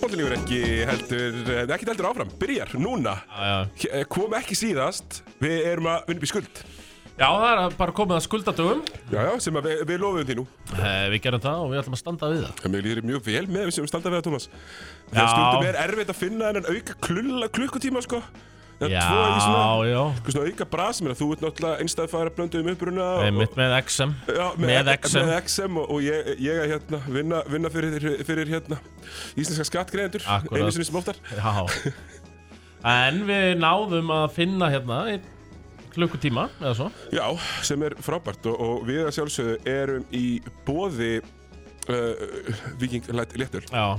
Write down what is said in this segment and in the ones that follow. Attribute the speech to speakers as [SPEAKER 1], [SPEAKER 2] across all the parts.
[SPEAKER 1] Bóttilífur ekki heldur, eh, ekkert heldur áfram, byrjar núna
[SPEAKER 2] Já,
[SPEAKER 1] H- eh, Kom ekki síðast, við erum að vinna upp í skuld
[SPEAKER 2] það er að bara komið að skuldadögum
[SPEAKER 1] Já, já, sem að við, við lofum því nú
[SPEAKER 2] eh, Við gerum það og við ætlum að standa við það
[SPEAKER 1] Það mér líður mjög vel með við sem standa við það, Tómas
[SPEAKER 2] Já.
[SPEAKER 1] Þegar stundum er erfitt að finna þennan auka klulla, klukkutíma, sko Það er tvo í svona,
[SPEAKER 2] Já, já
[SPEAKER 1] einhver svona auka brás, mér að þú ert náttúrulega einstæðfæra blönduðum um uppruna og-
[SPEAKER 2] Mitt með XM
[SPEAKER 1] Já,
[SPEAKER 2] Með XM
[SPEAKER 1] með XM og, og ég, ég er hérna vinna, vinna fyrir, fyrir hérna íslenska skattgreðendur
[SPEAKER 2] Akkúrat.
[SPEAKER 1] einu sinni sem oftar
[SPEAKER 2] Já En við náðum að finna hérna einn klukkutíma eða svo
[SPEAKER 1] já, sem er frábært og, og við að sjálfsögðu erum í bóði uh, Viking Light Léttur
[SPEAKER 2] Já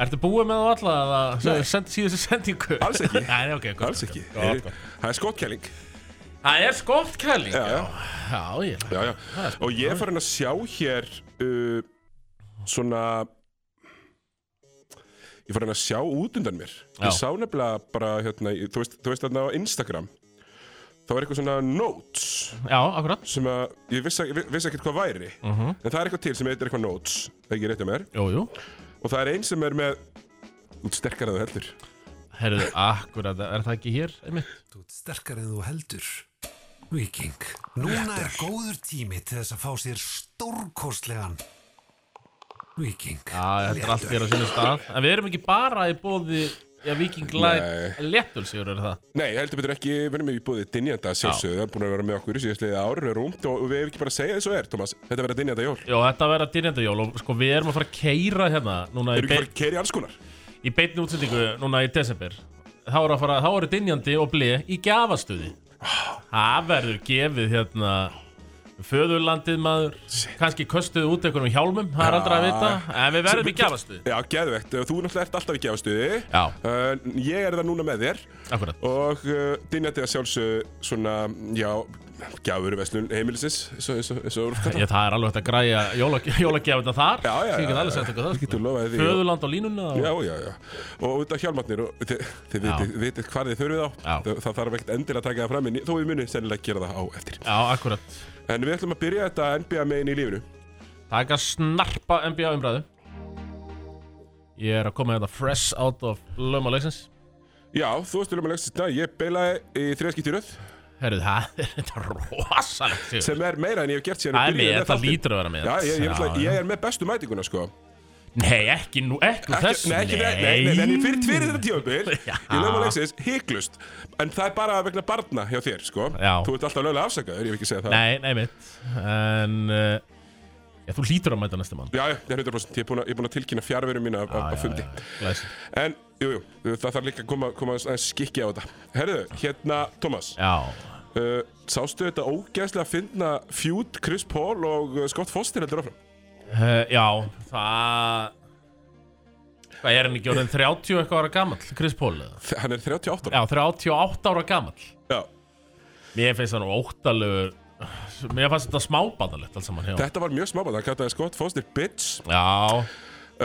[SPEAKER 2] Ertu búið með það alla eða
[SPEAKER 1] Nei.
[SPEAKER 2] Se- sendi síðustu sendingu?
[SPEAKER 1] Alls ekki.
[SPEAKER 2] Nei, ok, gott
[SPEAKER 1] alls ekki,
[SPEAKER 2] gott, gott.
[SPEAKER 1] það er skottkæling
[SPEAKER 2] Það er skott kæling
[SPEAKER 1] já, já,
[SPEAKER 2] Já, ég
[SPEAKER 1] já, já. og ég er farin að sjá hér uh, svona ég er farin að sjá út undan mér
[SPEAKER 2] Já.
[SPEAKER 1] ég sá nefnilega bara hérna, í- þú veist, þú veist þarna á Instagram þá er eitthvað svona notes
[SPEAKER 2] Já, akkurat
[SPEAKER 1] sem að ég vissi, ég vissi ekkert hvað væri
[SPEAKER 2] Mhm.
[SPEAKER 1] en það er eitthvað til sem heitir eitthvað notes ekki rétt hjá mér
[SPEAKER 2] Jú, jú
[SPEAKER 1] og það er einn sem er með út sterkar að þú heldur
[SPEAKER 2] Herðu, akkurat, er það ekki hér? Einmitt?
[SPEAKER 3] Þú ert sterkar en þú heldur. Viking, núna er góður tími til þess að fá sér stórkostlegan. Viking,
[SPEAKER 2] Já, þetta er allt hér á sínum stað En við erum ekki bara í bóði Já, Viking Light Léttul, sigur er það
[SPEAKER 1] Nei, heldur betur ekki, við erum í búið dinjanda sjálfsögðu, það er búin að vera með okkur í síðastliðið ár og rúmt og við hefum ekki bara að segja þessu er, Tómas þetta verða dinjanda jól,
[SPEAKER 2] Jó, þetta verða dýrindajól og sko við erum að fara að keira hérna núna
[SPEAKER 1] við
[SPEAKER 2] í,
[SPEAKER 1] erum
[SPEAKER 2] be
[SPEAKER 1] ekki bara að keyra í alls konar
[SPEAKER 2] í beinni útsendingu núna í desember Þá eru að fara, þá eru dynjandi og blei í gafastuði Það verður gefið hérna föðurlandið maður kannski köstuð út einhverjum hjálmum, það er aldrei að vita En við verðum í gafastuði
[SPEAKER 1] Já, geðvegt, þú náttúrulega ert alltaf í gefastuði
[SPEAKER 2] Já,
[SPEAKER 1] uh, ég er það núna með þér
[SPEAKER 2] akkurat
[SPEAKER 1] og uh, dinjandi að sjálfsögðu svona, já, gjafurveslun heimilisins, eins og- eins og- eins og Úlf kallar.
[SPEAKER 2] Ég, það er alveg hægt að græja jólagefina þar
[SPEAKER 1] Já, já,
[SPEAKER 2] Ég get
[SPEAKER 1] já,
[SPEAKER 2] alveg
[SPEAKER 1] já.
[SPEAKER 2] sagt eitthvað
[SPEAKER 1] Við getum
[SPEAKER 2] það sko.
[SPEAKER 1] lofað því.
[SPEAKER 2] Föðurland á línuna og...
[SPEAKER 1] Já, já, já. Og út af hjálmatnir, og þið, þið
[SPEAKER 2] Já.
[SPEAKER 1] vitið, vitið hvað þið þurfið á.
[SPEAKER 2] Já.
[SPEAKER 1] Það, það þarf ekkert endilega að taka það fram, en ég- þó við munum sennilega gera það á eftir.
[SPEAKER 2] já, akkurat
[SPEAKER 1] En við ætlum að byrja þetta NBA megin í lífinu.
[SPEAKER 2] Það er ekki að snarpa NBA umræðu Ég er að koma hérna fresh out of lögma leiksins
[SPEAKER 1] Já, þú stjórnum að leggst þetta. Ég beilaði í þriðaskipti röð,
[SPEAKER 2] Herðu það, er- þetta er rosalegt sigur.
[SPEAKER 1] sem er meira en ég hef gert síðan
[SPEAKER 2] Það er
[SPEAKER 1] við
[SPEAKER 2] með,
[SPEAKER 1] byrjuðum
[SPEAKER 2] þetta
[SPEAKER 1] þáttinn.
[SPEAKER 2] lítur að vera með
[SPEAKER 1] Já, ég, ég, ég,
[SPEAKER 2] Já,
[SPEAKER 1] ég er með bestu mætinguna, sko.
[SPEAKER 2] já. Nei, ekki nú, ekki, ekki
[SPEAKER 1] Ekki,
[SPEAKER 2] þess
[SPEAKER 1] nei, ekki, nei, nei, nei, nei, fyrir tverið þetta tímabil
[SPEAKER 2] Já.
[SPEAKER 1] í lögum að leiksins, hygglust en það er bara vegna barna hjá þér, sko
[SPEAKER 2] Já.
[SPEAKER 1] þú ert alltaf lögulega afsakaður, ég vil ekki segja það
[SPEAKER 2] Nei, nei mitt En uh, já, þú lítur að mæta næsta mann
[SPEAKER 1] já, já, ég er 100%, ég er búinn að- ég er búin að tilkynna fjárverum mín af, af, af fundi
[SPEAKER 2] Læs.
[SPEAKER 1] En, jú, jú, það þarf líka að koma, koma að skikki á þetta. Herðu, hérna, Thomas,
[SPEAKER 2] Já,
[SPEAKER 1] uh, sástu þetta ógæðslega að finna fjút Chris Paul og uh, Scott Foster heldur áfram?
[SPEAKER 2] uh, já, það Hvað er hann ekki orðin 30 eitthvað ára gamall, Chris Paul? eða?
[SPEAKER 1] Þ- Hann er 38
[SPEAKER 2] Já, 38 ára gamall
[SPEAKER 1] Já.
[SPEAKER 2] Mér finnst það nú óttalögur Mér fannst þetta smábannalegt alls saman hjá honum.
[SPEAKER 1] Þetta var mjög smábæð, hann kallaði Scott Foster bitch
[SPEAKER 2] Já,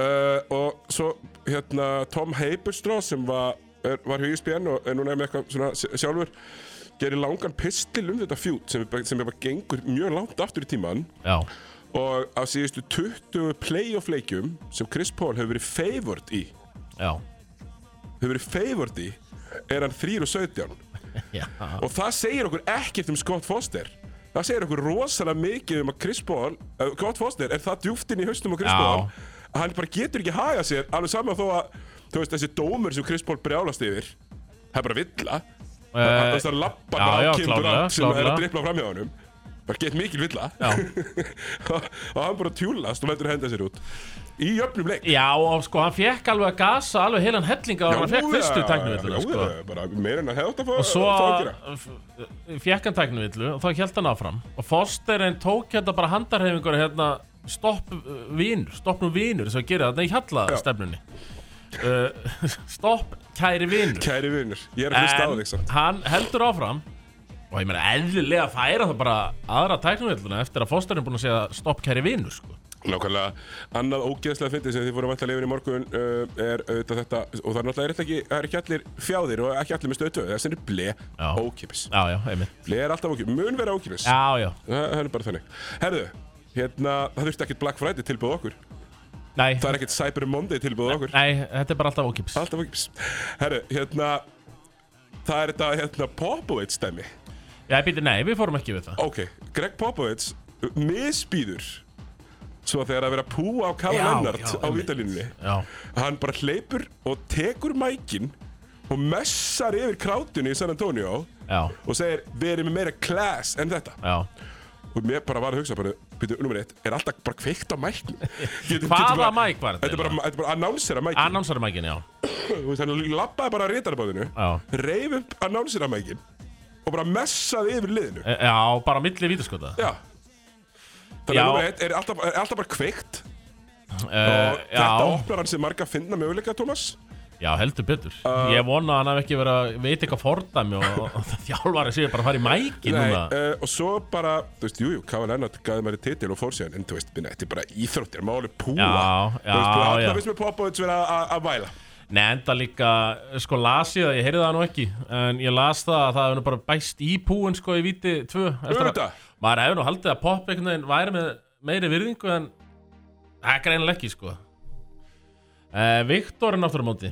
[SPEAKER 1] uh, og svo, hérna, Tom Haberstraw sem var, er, var hjá E ESPN og er núna með eitthvað svona sj- sjálfur gerir langan pistil um þetta fjút sem, er bara- sem er bara gengur mjög langt aftur í tímann
[SPEAKER 2] já,
[SPEAKER 1] og á síðustu 20 playoff leikjum sem Chris Paul hefur verið favored í
[SPEAKER 2] já,
[SPEAKER 1] hefur verið favored í er hann 3 og 17
[SPEAKER 2] já
[SPEAKER 1] og það segir okkur ekkert um Scott Foster það segir okkur rosalega mikið um að Chris Paul uh, Scott Foster er það djúftin í haustum á Chris
[SPEAKER 2] Já.
[SPEAKER 1] Paul að hann bara getur ekki haga sér alveg saman þó að þú veist þessi dómur sem Chris Paul brjálast yfir það er bara villa
[SPEAKER 2] Eh,
[SPEAKER 1] þess að lappa
[SPEAKER 2] já,
[SPEAKER 1] bara
[SPEAKER 2] já,
[SPEAKER 1] á Kim
[SPEAKER 2] klárlega,
[SPEAKER 1] Durant sem er
[SPEAKER 2] klárlega.
[SPEAKER 1] að dripla framhjá honum bara gett mikil villa
[SPEAKER 2] Já.
[SPEAKER 1] og, og hann bara tjúlast og lætur að henda sér út í jöfnum leik
[SPEAKER 2] Já, og sko, hann fekk alveg að gasa alveg heilan hellinga og hann fekk fyrstu
[SPEAKER 1] já,
[SPEAKER 2] tæknuvilluna, sko
[SPEAKER 1] já, bara meira en að hefða að fá
[SPEAKER 2] Og svo
[SPEAKER 1] fá að gera
[SPEAKER 2] f- fékk hann tæknuvillu og þá held hann áfram Og Fosterinn tók hérna bara handarhefingur hérna Stopp uh, vinur, stoppnum vinur sem að gera þarna í hjalla stefnunni uh, Stopp kæri vinur
[SPEAKER 1] Kæri vinnur, ég er að hlusta á þig sko. samt
[SPEAKER 2] hann heldur áfram Og ég meina eðlilega færa það bara aðra tæknuvilluna Eftir að Fosterinn er búin að segja stopp kæri vinur, sko
[SPEAKER 1] Nákvæmlega, annað ógeðslega fyndið sem þið voru vant að lifa í morgun uh, er auðvitað þetta, og það er náttúrulega er þetta ekki, það er ekki allir fjáðir og ekki allir með stöðtöð, þess vegna er ble
[SPEAKER 2] Já.
[SPEAKER 1] ókipis.
[SPEAKER 2] Já, já, einmitt
[SPEAKER 1] Ble er alltaf ókipis, mun vera ókipis.
[SPEAKER 2] Já, já,
[SPEAKER 1] Það það er bara þannig. Herðu, hérna, það þurfti ekkert Black Friday tilbúð okkur,
[SPEAKER 2] nei,
[SPEAKER 1] það er ekkert Cyber Monday tilbúð okkur,
[SPEAKER 2] nei, þetta er bara alltaf ókips
[SPEAKER 1] alltaf ókipis. Herðu, hérna, það er þetta, hérna, Popovich stemmi.
[SPEAKER 2] Já, býti, nei, við fórum ekki við það
[SPEAKER 1] Ok, Greg Popovich uh, misbýður svo þegar að vera að púa á Kyle
[SPEAKER 3] Já,
[SPEAKER 1] Leonard
[SPEAKER 3] já,
[SPEAKER 1] á vítalínunni.
[SPEAKER 2] Já,
[SPEAKER 1] hann bara hleypur og tekur mækin og messar yfir krátunni í San Antonio
[SPEAKER 2] já,
[SPEAKER 1] og segir við erum með meira class en þetta
[SPEAKER 2] já
[SPEAKER 1] og mér bara var að hugsa bara, byrju, nummer eitt, er alltaf bara kveikt á mækin getur,
[SPEAKER 2] Hvaða mæk var
[SPEAKER 1] Þetta er bara,
[SPEAKER 2] þetta?
[SPEAKER 1] þetta er bara annonsera mækin
[SPEAKER 2] Annánsarmækin, já
[SPEAKER 1] Þannig að hann lappaði bara að rétarbáðinu
[SPEAKER 2] Já.
[SPEAKER 1] Reif upp annonsera mækin Og bara messaði yfir liðinu
[SPEAKER 2] E- Já, bara á milli vítaskota
[SPEAKER 1] Já Þannig
[SPEAKER 2] Já.
[SPEAKER 1] að nummer eitt, er alltaf, er alltaf bara kveikt
[SPEAKER 2] uh,
[SPEAKER 1] Og þetta
[SPEAKER 2] já,
[SPEAKER 1] opnar hann sem marga að finna möguleika, Thomas
[SPEAKER 2] já, heldur betur Ég vona að hann hef ekki verið að veit eitthvað fordæmi og, og, og þjálfari séu bara að fara í mæki
[SPEAKER 1] Nei,
[SPEAKER 2] núna
[SPEAKER 1] uh, og svo bara, þú veist, jújú, Kava Lennart gaði maður í titil og fór síðan, en þú veist, minna, þetta er bara íþróttir, máli púa.
[SPEAKER 2] Já, já,
[SPEAKER 1] Þú veist, bara
[SPEAKER 2] já.
[SPEAKER 1] alltaf veist með Popovits vera að- að- að væla.
[SPEAKER 2] Nei, enda líka, sko, las ég það, ég heyrði það nú ekki En ég las það að það hefur nú bara bæst í púin, sko, í víti tvö eftir að-
[SPEAKER 1] Auðvitað.
[SPEAKER 2] Maður hefur nú haldið að popp einhvern veginn væri með meiri virðingu en Það er greinilega ekki, sko uh, Viktor er náttúrulega móti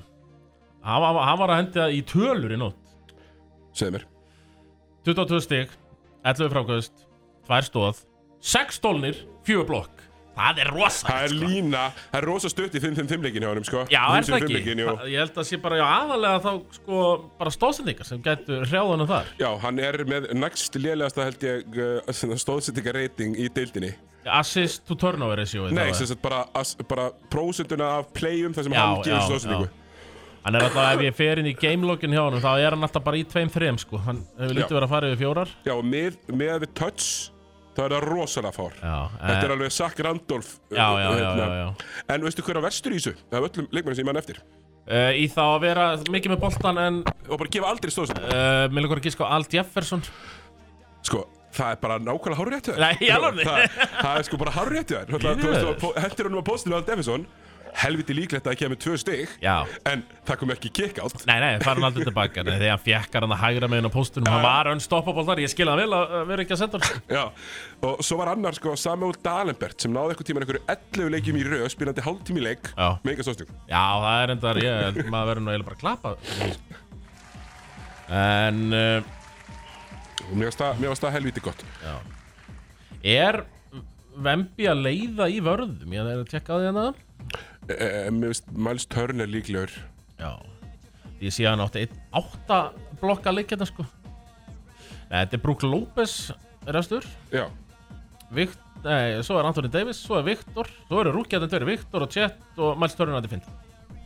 [SPEAKER 2] hann, var- hann var að henda í tölur í nótt
[SPEAKER 1] Segðu mér.
[SPEAKER 2] 22 stig, 11 frákvæðust 2 stóð, 6 stólnir 4 blokk, það er
[SPEAKER 1] Það er
[SPEAKER 2] rosalegt sko.
[SPEAKER 1] lína, það er rosa stutt í 5-5-5 leikinu hjá honum, sko.
[SPEAKER 2] Já, er það
[SPEAKER 1] 5-5
[SPEAKER 2] ekki?
[SPEAKER 1] leikinn, jú.
[SPEAKER 2] Það- Ég held að sé bara já, aðalega þá sko bara stóðsendingar sem gætu hrjáðunum þar
[SPEAKER 1] Já, hann er með nægst lélegasta, held ég, uh, stóðsettinga reyting í deildinni.
[SPEAKER 2] Assist to turnover ratio
[SPEAKER 1] Nei, sem
[SPEAKER 2] það var.
[SPEAKER 1] sagt bara, as, bara prósunduna af playum þar sem
[SPEAKER 2] Já,
[SPEAKER 1] hann
[SPEAKER 2] já,
[SPEAKER 1] gefur stóðsettingu.
[SPEAKER 2] já. Hann er alltaf, ef ég fer inn í gameloggin hjá honum þá er hann alltaf bara í tveim þreim sko Hann hefur lítið
[SPEAKER 1] Já.
[SPEAKER 2] verið að fara yfir fjórar
[SPEAKER 1] Já, og með, með við touch, þá er það rosalega fár.
[SPEAKER 2] Já,
[SPEAKER 1] Þetta er
[SPEAKER 2] eh,
[SPEAKER 1] alveg Sack Randolph. uh,
[SPEAKER 2] já, já, já,
[SPEAKER 1] hérna.
[SPEAKER 2] já, já.
[SPEAKER 1] En veistu hver á vestur í þessu? Það er öllum leikmennum sem ég mann eftir.
[SPEAKER 2] Uh, Í þá að vera mikið með boltan en
[SPEAKER 1] og bara gefa aldrei stóðsendingu
[SPEAKER 2] uh, Mér lukkar að gíska á Al Jefferson
[SPEAKER 1] sko það er bara nákvæmlega hárrétt hjá þér
[SPEAKER 2] Nei, í alvörunni?
[SPEAKER 1] það, það er sko bara hárrétt hjá þér Náttúrulega, þú
[SPEAKER 2] Yes.
[SPEAKER 1] veist, þú hendur honum á postinu að Devison helviti líklegt að það kemur tvö stig
[SPEAKER 2] Já.
[SPEAKER 1] en það kom ekki kick out
[SPEAKER 2] Nei, nei, fara hann aldrei tilbaka Nei, þegar hann fjekkar hann að hægra meginn á póstunum Hann var unstoppable þar, ég skil hann vel að að vera ekki að senda hann
[SPEAKER 1] Já. og svo var annar sko Samuel Dalenbert sem náði eitthvað tíma einhverju 11 leikjum í röð spilandi hálftími í leik
[SPEAKER 2] Já.
[SPEAKER 1] með eitthvað stóðstig
[SPEAKER 2] Já, það er endar, ég, maður verður nú eiginlega bara að klappa En uh,
[SPEAKER 1] og mér varst það- mér varst það helviti gott
[SPEAKER 2] er Vembi að leiða í vörðum? Ég er að tjekka á því hérna
[SPEAKER 1] e, e, mér veist Miles Turner líklegur
[SPEAKER 2] Já Ég sé að hann átti einn átta blokka leik hérna sko Nei, Þetta er Brook Lopez restur
[SPEAKER 1] Já.
[SPEAKER 2] Vikt, nei, svo er Anthony Davis, svo er Viktor Svo eru rúkjæðin tveir, Viktor og Chet og Miles Turner að þið finn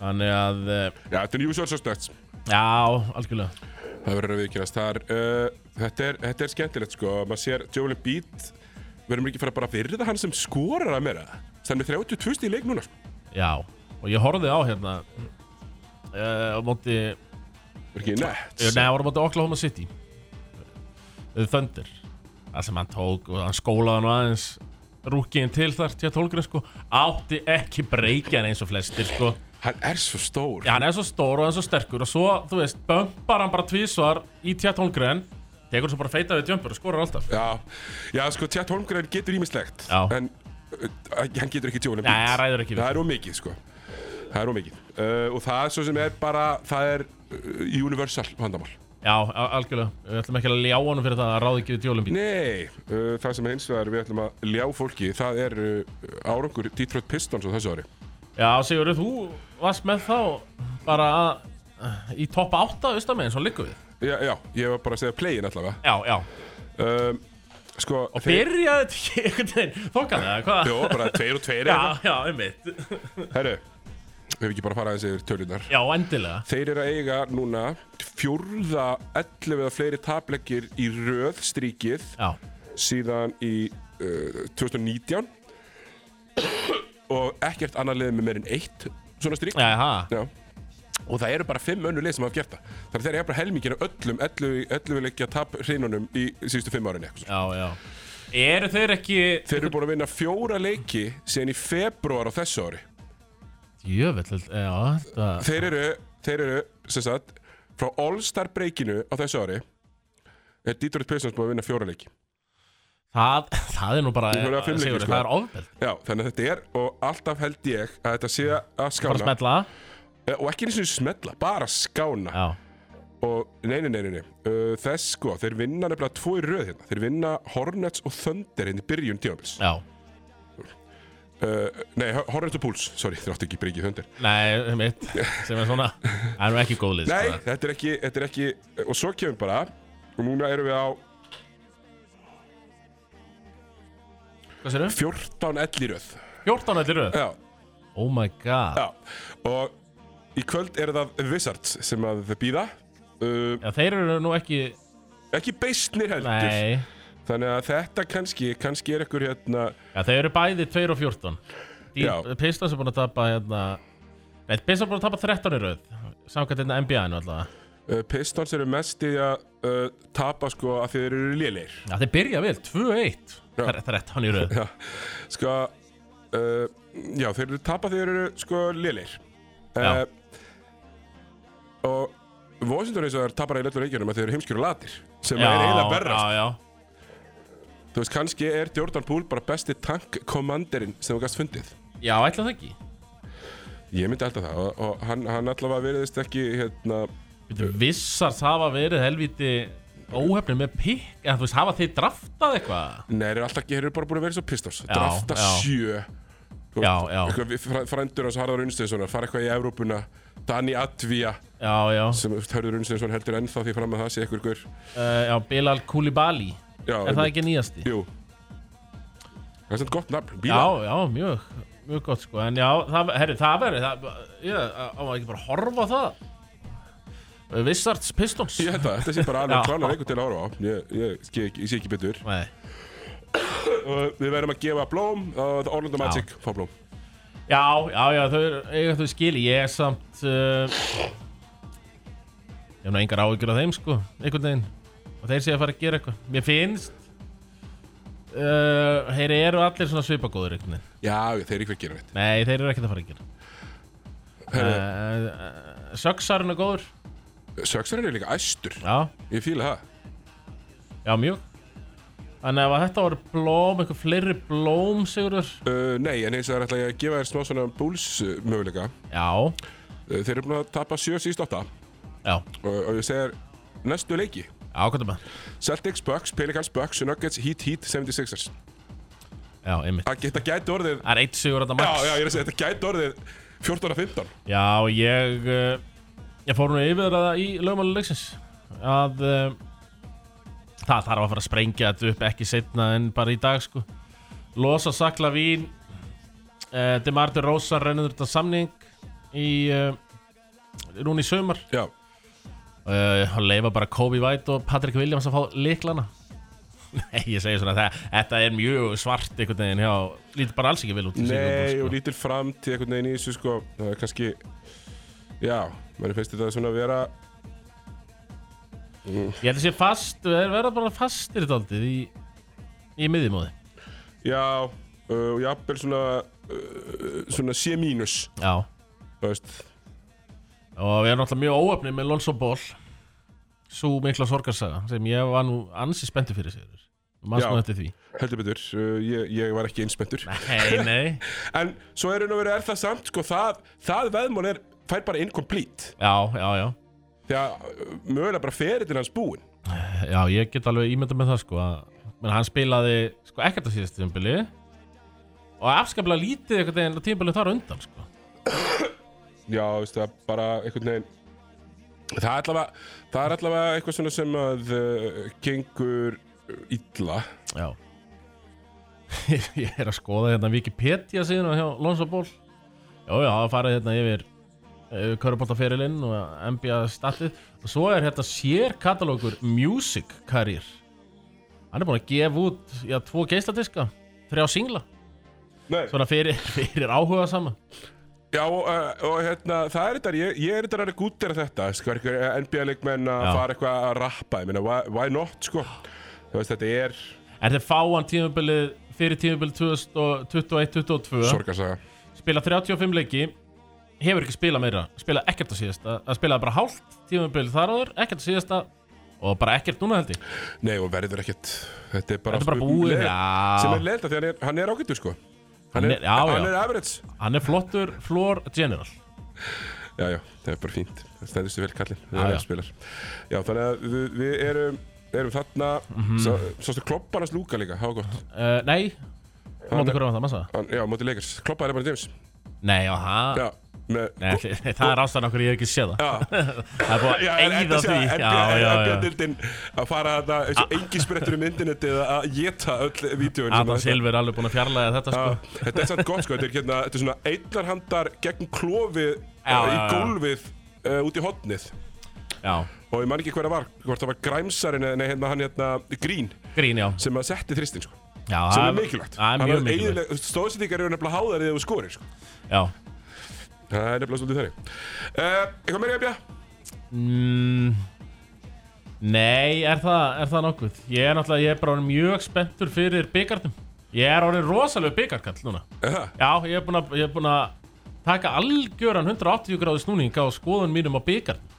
[SPEAKER 2] Þannig að, eh,
[SPEAKER 1] Já, þetta er New York Suspects
[SPEAKER 2] já, algjörlega
[SPEAKER 1] Það verður að viðkynast. Það er, uh, þetta, er, þetta er skemmtilegt sko. Maður sér Joel Embiid, verðum ekki að fara bara að virða hann sem skorar að meira. Það er með 32 stíð í leik núna. sko.
[SPEAKER 2] Já, og ég horfði á hérna uh, á móti eh,
[SPEAKER 1] Er ekki nett?
[SPEAKER 2] Nei, það var á móti Oklahoma City Eh, Thunder Það sem hann tók og hann skólaði hann aðeins Rúkiðin til þar, Chet Holgren sko Átti ekki breykjan eins og flestir sko
[SPEAKER 1] Hann er svo stór.
[SPEAKER 2] Já, hann er svo stór og hann er svo sterkur og svo, þú veist, bömpar hann bara tvísvar í Tjat Holmgren, tekur svo bara feita við tjömpur og skorar alltaf.
[SPEAKER 1] Já, já sko, Tjátt Holmgren getur ímislegt.
[SPEAKER 2] Já.
[SPEAKER 1] En uh, hann getur ekki Joel Embiid.
[SPEAKER 2] Nei, hann ræður ekki við
[SPEAKER 1] Það er ómikið sko. Það er ómikið. Uh, og það er svo sem er bara, það er uh, universal vandamál.
[SPEAKER 2] Já, a- algjörlega. Við ætlum ekki að ljá honum fyrir það að hann ráði ekki við djólum bíl.
[SPEAKER 1] Nei, uh, það sem hins vegar við ætlum að ljá fólki, það er uh, árangur Detroit Pistons á þessu ári.
[SPEAKER 2] Já, Sigurður, þú varst með þá bara að í topp 8 austamegin, svo liggum við.
[SPEAKER 1] Já, já, ég var bara að segja playin allavega
[SPEAKER 2] Já, já.
[SPEAKER 1] um, Sko
[SPEAKER 2] Og byrjaði þetta einhvern veginn þokkað eða hvað?
[SPEAKER 1] Jó, bara tveir og tveir
[SPEAKER 2] Já,
[SPEAKER 1] eða.
[SPEAKER 2] já, einmitt.
[SPEAKER 1] Herru, við hefum ekki bara að fara aðeins yfir tölunar
[SPEAKER 2] Já, endilega.
[SPEAKER 1] Þeir eru að eiga núna fjórða 11 eða fleiri tapleggir í röð stríkið
[SPEAKER 2] Já,
[SPEAKER 1] síðan í uh, 2019 og ekkert annað liðið með meir en eitt svona strík
[SPEAKER 2] já, já.
[SPEAKER 1] Já. Og það eru bara fimm önnu lið sem hafa gert það Þannig að þeir eru bara helmingin af öllum 11 leikja tap hreinunum í síðustu fimm árinni
[SPEAKER 2] Já, já. Eru þeir ekki
[SPEAKER 1] Þeir eru búin að vinna fjóra leiki síðan í februar á þessu ári
[SPEAKER 2] Jöfell, já það,
[SPEAKER 1] Þeir eru, þeir eru, sem sagt frá All-Star breakinu á þessu ári er Detroit Pistons búin að vinna fjóra leiki
[SPEAKER 2] það, það er nú bara
[SPEAKER 1] Þú verður að fimm leikir,
[SPEAKER 2] Sigurður,
[SPEAKER 1] sko.
[SPEAKER 2] Það er ofbeld
[SPEAKER 1] Já, þannig að þetta er og alltaf held ég að þetta sé að
[SPEAKER 2] Bara
[SPEAKER 1] skána
[SPEAKER 2] smetla
[SPEAKER 1] Eh, og ekki eins og smetla, bara skána
[SPEAKER 2] Já
[SPEAKER 1] og neini, neini, neini uh, þess sko, þeir vinna nefnilega tvo í röð hérna þeir vinna Hornets og Thunder hérna í byrjun tímabils
[SPEAKER 2] Já
[SPEAKER 1] uh, nei, Hornets og Pools, sorry, þeir áttu ekki breykið Thunder
[SPEAKER 2] Nei, mitt Sem er svona Það er nú ekki góð lið sko.
[SPEAKER 1] Nei, þetta er ekki, þetta er ekki og svo kemur bara og núna erum við á
[SPEAKER 2] Hvað sér
[SPEAKER 1] 14 ell í röð
[SPEAKER 2] 14 öllir röð
[SPEAKER 1] Já,
[SPEAKER 2] Oh my god
[SPEAKER 1] já og í kvöld er það Wizards sem að þau býða uh,
[SPEAKER 2] Já, þeir eru nú ekki
[SPEAKER 1] ekki beistnir heldur
[SPEAKER 2] Nei
[SPEAKER 1] þannig að þetta kannski, kannski er ykkur hérna
[SPEAKER 2] Já, þeir eru bæði 2 og 14
[SPEAKER 1] Já.
[SPEAKER 2] Pistons er búin að tapa hérna Nei, Pistons er búin að tapa 13 í röð Samkvæmt hérna NBA-inu alltaf
[SPEAKER 1] uh, Pistons eru mest í að uh, tapa sko að þeir eru lélir
[SPEAKER 2] Já, þeir byrja vel, 2-1
[SPEAKER 1] Já.
[SPEAKER 2] Þre- 13 í röð
[SPEAKER 1] já, sko uh, já, þeir eru tapa þeir eru sko lélir uh,
[SPEAKER 2] Já.
[SPEAKER 1] og Washington eins og þeir tapar í löllu leikjunum að þeir eru heimskjur og latir sem
[SPEAKER 2] Já,
[SPEAKER 1] er eiginlega verra
[SPEAKER 2] Já, já
[SPEAKER 1] þú veist, kannski er Jordan Poole bara besti tankkommanderinn sem þú gast fundið
[SPEAKER 2] Já, ætla það ekki
[SPEAKER 1] ég myndi alltaf það og, og hann, hann allavega veriðist ekki hérna,
[SPEAKER 2] Bíddu, Vissars hafa verið helviti óhefnir með pikk En þú veist, hafa þeir draftað eitthvað
[SPEAKER 1] Nei, þeir eru alltaf, þeir eru bara búin að vera svo Pistons
[SPEAKER 2] Já,
[SPEAKER 1] Drafta
[SPEAKER 2] já.
[SPEAKER 1] sjö Þú
[SPEAKER 2] Já,
[SPEAKER 1] veist,
[SPEAKER 2] já.
[SPEAKER 1] eitthvað við- fræ- Frændur hans Harðar Unnsteinssonar fara eitthvað í Evrópuna Dani Atvia
[SPEAKER 2] Já, já
[SPEAKER 1] sem Harður Unnsteinsson heldur ennþá því fram að það sé eitthvað gur
[SPEAKER 2] uh, Já, Bilal Koulibaly
[SPEAKER 1] Já,
[SPEAKER 2] Er það ekki nýjasti?
[SPEAKER 1] Jú Það er svona gott nafn,
[SPEAKER 2] Já,
[SPEAKER 1] bíla
[SPEAKER 2] já, mjög Mjög gott sko, en já, það, herri, það verið það, Ég, á maður ekki bara að horfa á það Vissarts Pistons
[SPEAKER 1] Ég held að þetta sé bara alveg
[SPEAKER 2] Já.
[SPEAKER 1] klána leikur til að horfa á Ég, ég, ég, ég sé ekki betur
[SPEAKER 2] Nei.
[SPEAKER 1] Og Við verðum að gefa blóm og Orlando Magic fá blóm
[SPEAKER 2] Já, já, já, þau eru eiga þau skili Ég er samt uh, Ég hef nú engar áhyggjur af þeim sko Einhvern veginn Og þeir séu að fara að gera eitthvað Mér finnst uh, Þeir eru allir svona svipagóður einhvern veginn
[SPEAKER 1] Já, þeir eru ekki að gera neitt
[SPEAKER 2] Nei, þeir eru ekkert að fara að gera
[SPEAKER 1] Herðu,
[SPEAKER 2] uh, uh, Söksarinn er góður
[SPEAKER 1] Söksarinn er líka æstur
[SPEAKER 2] Já,
[SPEAKER 1] Ég fíla það
[SPEAKER 2] já, mjög Þannig að ef þetta voru blóm, eitthvað fleiri blóm, Sigurður
[SPEAKER 1] uh, Nei, en eins og það er ætla ég að gefa þér smá svona búls möguleika
[SPEAKER 2] Já,
[SPEAKER 1] Uh, Þeir eru búin að tapa 7 síst 8 og,
[SPEAKER 2] já,
[SPEAKER 1] og ég segir næstu leiki
[SPEAKER 2] já, hvað er maður?
[SPEAKER 1] Celtics, Bucks, Pelicans, Bucks, Nuggets, Heat, Heat, 76ers
[SPEAKER 2] Já, einmitt
[SPEAKER 1] Að Þetta gæti orðið
[SPEAKER 2] Það er eitt Sigurður þetta
[SPEAKER 1] Já,
[SPEAKER 2] max
[SPEAKER 1] já, ég er að segja, þetta gæti orðið 14 að 15
[SPEAKER 2] Já, ég uh, Ég fór nú yfir það í lögmáli leiksins Að uh, Það þarf að fara að sprengja þetta upp Ekki setna en bara í dag sko Losa sakla vín uh, Demardi Rósa rennur þetta samning Í uh, Núna í sömar
[SPEAKER 1] Já,
[SPEAKER 2] uh, og leifa bara Kobe White og Patrick Williams að fá liklana Nei, ég segi svona það, þetta er mjög svart einhvern veginn hjá, lítur bara alls ekki vel út í
[SPEAKER 1] nei
[SPEAKER 2] sko. Singapore,
[SPEAKER 1] og lítil fram til einhvern veginn í þessu sko Það er kannski, já, mann finnst þetta svona að vera
[SPEAKER 2] sko. Ég held að sé fast, við erum verða bara fastir daldið í, í miðjumóði
[SPEAKER 1] Já, uh, og jafnvel svona, uh, svona C mínus
[SPEAKER 2] Já,
[SPEAKER 1] Þú veist,
[SPEAKER 2] og við erum náttúrulega mjög óöfnið með Lonzo Ball Sú mikla sorgarsaga sem ég var nú ansi spenntu fyrir sér Manns
[SPEAKER 1] Já.
[SPEAKER 2] nú eftir því
[SPEAKER 1] heldur betur, uh, ég, ég var ekki einspendur
[SPEAKER 2] Nei, nei,
[SPEAKER 1] En svo er raun og verið er það samt sko, það, það veðmál er, fær bara incomplete
[SPEAKER 2] já, já, já
[SPEAKER 1] því að uh, mögulega bara ferillin hans búinn
[SPEAKER 2] Já, ég get alveg ímynda með það sko að menn, hann spilaði sko ekkert á síðast tímbili og afskaplega lítið einhvern veginn á tímbili þar á undan sko
[SPEAKER 1] já, veistu það, bara einhvern veginn það er allavega, það er allavega eitthvað svona sem að uh, gengur illa
[SPEAKER 2] Já Ég er að skoða hérna Wikipedia síðan hjá Lonzo Ball Já, já, það farið hérna yfir Köruboltaferilinn og NBA statið og svo er hérna sér katalógur Music Career Hann er búinn að gefa út já, tvo geisladiska, þrjá singla
[SPEAKER 1] Nei.
[SPEAKER 2] svona fyrir, fyrir áhuga saman
[SPEAKER 1] já, og, uh, og hérna, það er þetta ég, ég er þetta að gútera þetta sko, NBA leikmenn að
[SPEAKER 2] Já.
[SPEAKER 1] fara eitthvað að rappa ég meina, why, why not, sko þú veist, þetta er
[SPEAKER 2] en þeir fá hann tímabilið fyrir tímabilið 2021-2022
[SPEAKER 1] Sorgarsaga
[SPEAKER 2] spila 35 leiki hefur ekki spilað meira, spilað ekkert á síðasta að spilaði bara hálft tímabil þar áður ekkert á síðasta og bara ekkert núna held ég
[SPEAKER 1] Nei og verður ekkert Þetta er bara,
[SPEAKER 2] Þetta er bara
[SPEAKER 1] spurning-
[SPEAKER 2] búið,
[SPEAKER 1] Nei,
[SPEAKER 2] já.
[SPEAKER 1] Sem er leilda því hann er, hann er ágættur sko Hann
[SPEAKER 2] Hann
[SPEAKER 1] er,
[SPEAKER 2] er- já,
[SPEAKER 1] hann
[SPEAKER 2] já.
[SPEAKER 1] er average
[SPEAKER 2] hann er flottur floor general
[SPEAKER 1] Já, já, það er bara fínt Það stendur sér vel kallinn
[SPEAKER 2] Já,
[SPEAKER 1] Það
[SPEAKER 2] já.
[SPEAKER 1] er spilar Já, þannig að við, við erum, erum þarna mm
[SPEAKER 2] Mhm.
[SPEAKER 1] Svo stu klopparnas lúka líka, hafa gott
[SPEAKER 2] uh, nei, hann mátti hverja var það massa
[SPEAKER 1] hann, Já, móti leikars Kloppar er bara James
[SPEAKER 2] nei, já, það
[SPEAKER 1] Já, með
[SPEAKER 2] Nei, ætli- það er ástæðan okkur ég hef ekki séð það
[SPEAKER 1] Já,
[SPEAKER 2] Það er búið
[SPEAKER 1] já,
[SPEAKER 2] að eigða því Já, já, já
[SPEAKER 1] Björnildin að fara þarna eins og engin sprettur um internetið eða að geta öll vídjóin
[SPEAKER 2] Adam Silver er alveg búin að fjarlæga þetta sko
[SPEAKER 1] Ah, Þetta er samt gott sko, þetta er, hérna, þetta er svona einlarhandar gegn klófið
[SPEAKER 2] Já,
[SPEAKER 1] uh, í
[SPEAKER 2] já, já.
[SPEAKER 1] gólfið uh, út í hotnið
[SPEAKER 2] Já,
[SPEAKER 1] og ég man ekki hver það var, hvort það var græmsarinn eða nei, hérna, hann hérna grín
[SPEAKER 2] grín, já
[SPEAKER 1] sem að setti þristinn sko
[SPEAKER 2] Já,
[SPEAKER 1] sem
[SPEAKER 2] það
[SPEAKER 1] er mikilvægt
[SPEAKER 2] Það er mjög mikilvægt
[SPEAKER 1] Stóðsendingar eru nefnilega háðar eða þú skorir sko
[SPEAKER 2] Já
[SPEAKER 1] Það er nefnilega svolítið þannig uh, Eitthvað meira ég að
[SPEAKER 2] mm, Nei, er það, er það nokkuð Ég er náttúrulega, ég er bara orðinn mjög spenntur fyrir byggarnum Ég er orðin rosalega byggarkall núna
[SPEAKER 1] bja?
[SPEAKER 2] Já, ég er búin að, ég er búin að taka algjöran 180 gráðu snúning á skoðun mínum á byggarn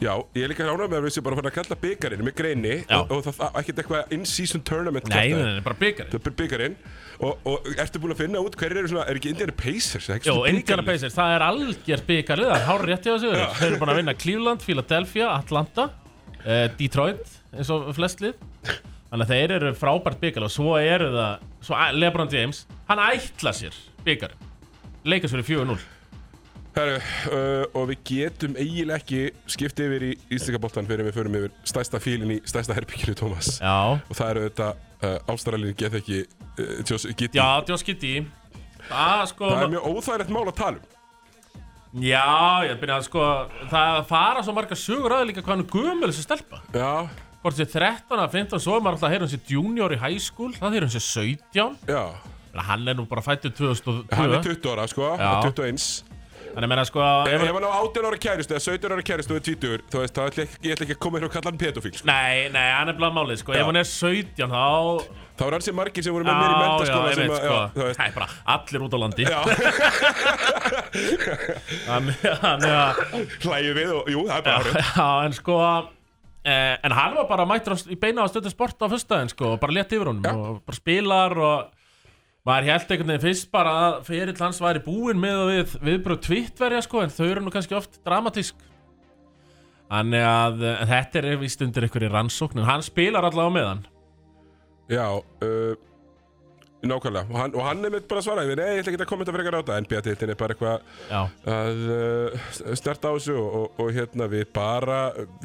[SPEAKER 1] Já, ég er líka ánægð með að við séum bara farin að kalla byggarinn með greini
[SPEAKER 2] Já.
[SPEAKER 1] og, og það það- ekkert eitthvað in-season tournament
[SPEAKER 2] Nei,
[SPEAKER 1] kjaftaði.
[SPEAKER 2] nei, nei, bara byggarn
[SPEAKER 1] Það er byggarinn og, og ertu búin að finna út hverjir eru svona, er ekki Indiana Pacers? Er ekki
[SPEAKER 2] Jó,
[SPEAKER 1] svona
[SPEAKER 2] Indiana
[SPEAKER 1] bikarlið?
[SPEAKER 2] Pacers, það er algjört byggarlið, það er hár rétt hjá þessu Þeir eru búin að vinna Cleveland, Philadelphia, Atlanta, eh, Detroit, eins og flest lið Þannig að þeir eru frábært byggarlið og svo eru það, svo a- Lebron James, hann ætla sér byggarinn Leikast fyrir 4-0
[SPEAKER 1] Herru, uh, og við getum eiginlega ekki skipt yfir í Íslikaboltan fyrir við förum yfir stærsta fílinn í stærsta herbygginu Thomas
[SPEAKER 2] Já,
[SPEAKER 1] og það eru þetta uh, ástralin get ekki uh, tjós, get
[SPEAKER 2] já, Josh Giddy Það sko,
[SPEAKER 1] Það er mjög óþægilegt mál að tala um
[SPEAKER 2] já, ég byrja að sko, það fara svo marga sögur aðeins líka hvað hann er gömul þessi stelpa
[SPEAKER 1] Já,
[SPEAKER 2] Hvort sé 13 að 15, svo er maður alltaf að heyra hans í junior í high school, það heyra um hans í 17
[SPEAKER 1] já
[SPEAKER 2] Þannig að Hann er nú bara fættur 2002
[SPEAKER 1] Hann er 20 ára sko,
[SPEAKER 2] Já.
[SPEAKER 1] 21
[SPEAKER 2] Þannig að menna sko
[SPEAKER 1] Ef
[SPEAKER 2] ef,
[SPEAKER 1] ef hann á 18 ára kæristu eða 17 ára kæristu og er 20 þá veist, það ætla ekki, ég ætla ekki að koma hérna og kalla hann pedofíl sko.
[SPEAKER 2] Nei, nei, hann er blá málið sko Ef hann er 17 þá
[SPEAKER 1] Þá er ansi margir sem voru
[SPEAKER 2] Já,
[SPEAKER 1] með mér í
[SPEAKER 2] já,
[SPEAKER 1] mentaskóla
[SPEAKER 2] ég
[SPEAKER 1] sem að-
[SPEAKER 2] veit sko
[SPEAKER 1] þú
[SPEAKER 2] Það er bara allir út á landi
[SPEAKER 1] veist,
[SPEAKER 2] Þannig þannig að
[SPEAKER 1] já, hlægjum við og jú, það er bara árið
[SPEAKER 2] Já, en sko eh, En hann var bara mættur á- í beina á stöðu sport á föstudaginn sko Og bara létt yfir honum Og bara spilar og Maður held einhvern veginn fyrst bara að ferill hans væri búinn með og við viðbröð tvittverja sko En þau eru nú kannski oft dramatísk Þannig að eh, þetta er vist undir einhverju rannsókn En hann spilar allavega með hann
[SPEAKER 1] Já, uh, nákvæmlega og hann, og hann er mitt bara að svara við, nei, ég ætla ekki að kommenta frekar á þetta NBA-tiltin er bara eitthvað
[SPEAKER 2] Já
[SPEAKER 1] að uh, snerta á þessu og, og, og hérna við bara,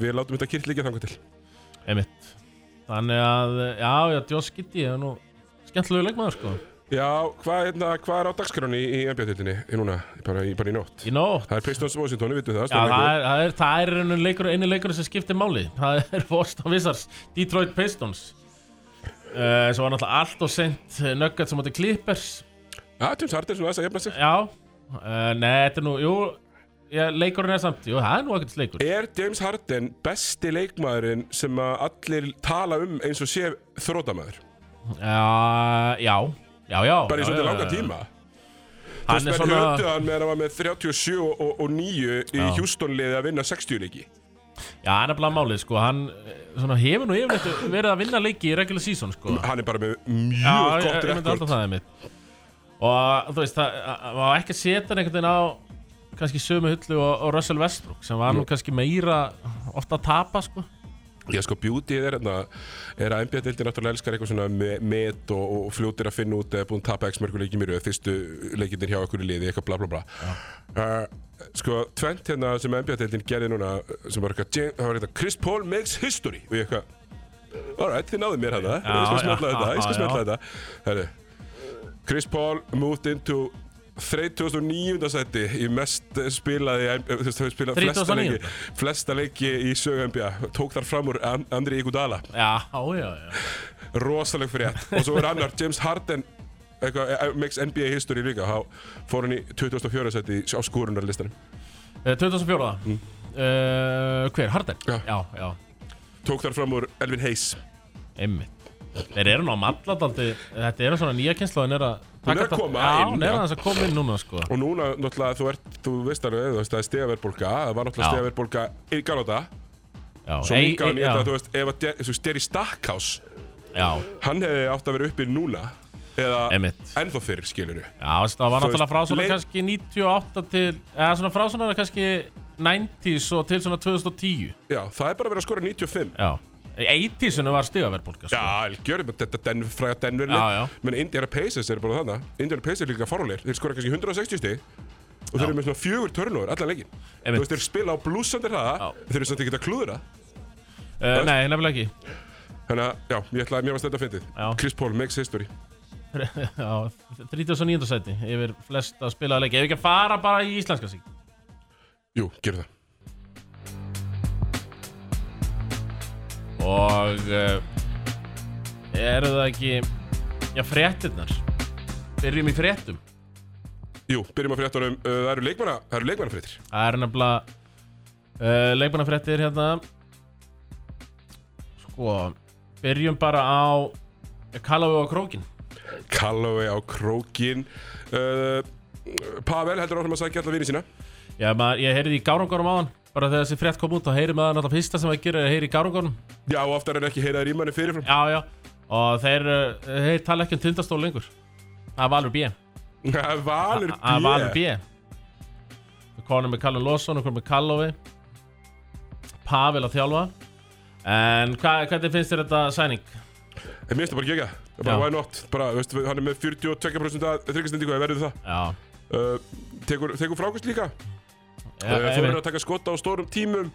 [SPEAKER 1] við látum þetta kýrt líka þangu til
[SPEAKER 2] Einmitt Þannig að, já, já, Josh Giddy er nú skemmtilegu leikmaður sko
[SPEAKER 1] Já, hvað hérna, hva er á dagskráni í, í NBA-tiltinni núna, bara í, bara í nótt?
[SPEAKER 2] Í nótt
[SPEAKER 1] Það er Pistons Washington, við vitum það,
[SPEAKER 2] Já,
[SPEAKER 1] stórleikur.
[SPEAKER 2] það er, það er, það er einu leikur, einu leikur sem skiptir máli Það er Boston Wizards, Detroit Pistons uh, Svo var náttúrulega allt og sent Nuggets sem átti Clippers
[SPEAKER 1] Já, Ah, James Harden svona þess að jafna sig
[SPEAKER 2] Já, uh, nei, þetta er nú, jú já, Leikurinn er samt, jú, það er nú ekkert leikur
[SPEAKER 1] Er James Harden besti leikmaðurinn sem að allir tala um eins og sé þrótamaður?
[SPEAKER 2] Já, já, já, já
[SPEAKER 1] Bara í
[SPEAKER 2] já,
[SPEAKER 1] svolítið
[SPEAKER 2] já,
[SPEAKER 1] langan
[SPEAKER 2] já.
[SPEAKER 1] tíma
[SPEAKER 2] Hann er
[SPEAKER 1] Menn
[SPEAKER 2] svona,
[SPEAKER 1] höldu hann meðan hann var með 37 og, og 9 í Houston-liði að vinna 60 leiki
[SPEAKER 2] já, hann er blá málið, sko Hann eh, svona, hefur nú yfirleitt verið að vinna leiki í regular season, sko
[SPEAKER 1] Hann er bara með mjög
[SPEAKER 2] Já, ég-
[SPEAKER 1] gott
[SPEAKER 2] ég myndi alltaf
[SPEAKER 1] rekord
[SPEAKER 2] það einmitt Og þú veist, það að- að- var ekki að setja hann einhvern veginn á kannski sömu hullu og, og Russell Westbrook sem var nú kannski meira ofta að tapa sko
[SPEAKER 1] Já, sko, beautyð er hérna er að NBA-deildin náttúrulega elskar eitthvað svona me- met og, og fljótir að finna út eða búin að tapa x mörgur leikir mér fyrstu leikindir hjá okkur í liði, eitthvað bla bla bla uh, Sko, tvent hérna sem NBA-deildin gerði núna eh, sem var eitthvað, Jam- það var eitthvað Chris Paul makes history og ég eitthvað Alright, þið náðu mér hérna, ég skal
[SPEAKER 2] já,
[SPEAKER 1] smetla þetta, ég skal
[SPEAKER 2] já, já.
[SPEAKER 1] smetla þetta Herri, Chris Paul moved into 39. seti í mest spilaði eh, þú veist, þau spilaði flesta
[SPEAKER 2] 39..
[SPEAKER 1] leiki flesta leiki í sögu NBA tók þar fram úr An- Andri Iguodala
[SPEAKER 2] Já, já, já
[SPEAKER 1] rosaleg frétt og svo er annar James Harden eitthvað, eh, makes NBA history líka þá fór hann í 24. seti á skúrunarlistanum
[SPEAKER 2] Eh, 2004 mm. uh, Hver, Harden?
[SPEAKER 1] Já.
[SPEAKER 2] já, já
[SPEAKER 1] tók þar fram úr Elvin Hayes
[SPEAKER 2] einmitt Þeir eru ná malladaldi Þetta er svona nýja kynsla Hún er að
[SPEAKER 1] Hún er að
[SPEAKER 2] taka þetta-
[SPEAKER 1] koma
[SPEAKER 2] Já,
[SPEAKER 1] inn,
[SPEAKER 2] hún er
[SPEAKER 1] já.
[SPEAKER 2] aðeins að koma inn núna sko
[SPEAKER 1] Og núna, náttúrulega, þú, ert, þú veist alveg, þú veist, það er stegaverðbólka, það var náttúrulega
[SPEAKER 2] Já.
[SPEAKER 1] stegaverðbólka í galóta,
[SPEAKER 2] Já,
[SPEAKER 1] svo
[SPEAKER 2] ei-
[SPEAKER 1] mingaðan
[SPEAKER 2] ei-
[SPEAKER 1] í
[SPEAKER 2] já,
[SPEAKER 1] þetta, þú veist, ef að Der- þú veist, Derry Stackhouse,
[SPEAKER 2] Já,
[SPEAKER 1] hann hefði átt að vera uppi núna, eða
[SPEAKER 2] Einmitt.
[SPEAKER 1] ennþá fyrir, skilur við.
[SPEAKER 2] já veist, það var
[SPEAKER 1] Þú
[SPEAKER 2] náttúrulega
[SPEAKER 1] veist,
[SPEAKER 2] frá svona
[SPEAKER 1] leið-
[SPEAKER 2] kannski 98 til Eða svona frá svona kannski 90s og til svona 2010
[SPEAKER 1] Já, það er bara verið að skora 95.
[SPEAKER 2] Já 80s-unum var
[SPEAKER 1] Já,
[SPEAKER 2] stigaverðbólka sko.
[SPEAKER 1] algjörðum, þetta den, fræða
[SPEAKER 2] Já, já.
[SPEAKER 1] Denverlið, menn Indiana Pacers eru bara þarna, Indiana Pacers eru líka farulegir, þeir skora kannski 160 stig og þeir eru með svona fjögur törnur allan leikin. Þú
[SPEAKER 2] Einmitt.
[SPEAKER 1] veist, þeir spila á blúsandi hraða,
[SPEAKER 2] Já.
[SPEAKER 1] þeir eru samt ekki að klúðra.
[SPEAKER 2] uh, Nei, nefnilega ekki
[SPEAKER 1] Þannig að, já, ég ætlaði, mér varst þetta að fyndið.
[SPEAKER 2] Já.
[SPEAKER 1] Chris Paul makes history.
[SPEAKER 2] Já, 39. sæti yfir flesta spilaða leiki Ef við ekki að fara bara í íslenska sig
[SPEAKER 1] Jú, gerðu það.
[SPEAKER 2] Og uh, eru það ekki Já, fréttirnar Byrjum í fréttum
[SPEAKER 1] Jú, byrjum að fréttunum, uh, það eru leikmanna, það eru leikmannafréttir.
[SPEAKER 2] Það er nefnilega uh, leikmannafréttir hérna Sko Byrjum bara á Kallafið og Krókin
[SPEAKER 1] Callaway á krókin, uh, Pavel heldur áfram að sækja alla vini sína.
[SPEAKER 2] Já, maður, ég heyrði í gárungunum áðan Bara þegar þessi frétt kom út þá heyri maður alltaf fyrsta sem að gera er að heyri í gárungunum
[SPEAKER 1] Já, og oftar en ekki heyraði rímanni fyrirfram.
[SPEAKER 2] Já, já Og þeir, uh, þeir tala ekki um tindastól lengur Það er Valur B
[SPEAKER 1] Valur B.
[SPEAKER 2] Það er Valur B Við konum með Callum Lawson og konum með Callovi Pavel að þjálfa En hva, hvernig finnst þér þetta sæning?
[SPEAKER 1] Mér finnst það bara gegja. Það er bara
[SPEAKER 2] Já.
[SPEAKER 1] why not. Bara, þú veist, hann er með 42% að þryggjastendingu, ef verður það.
[SPEAKER 2] Já
[SPEAKER 1] Uh, tekur, tekur frákust líka.
[SPEAKER 2] Já,
[SPEAKER 1] Ja,
[SPEAKER 2] einmitt.
[SPEAKER 1] Þú verður að taka skota á stórum tímum.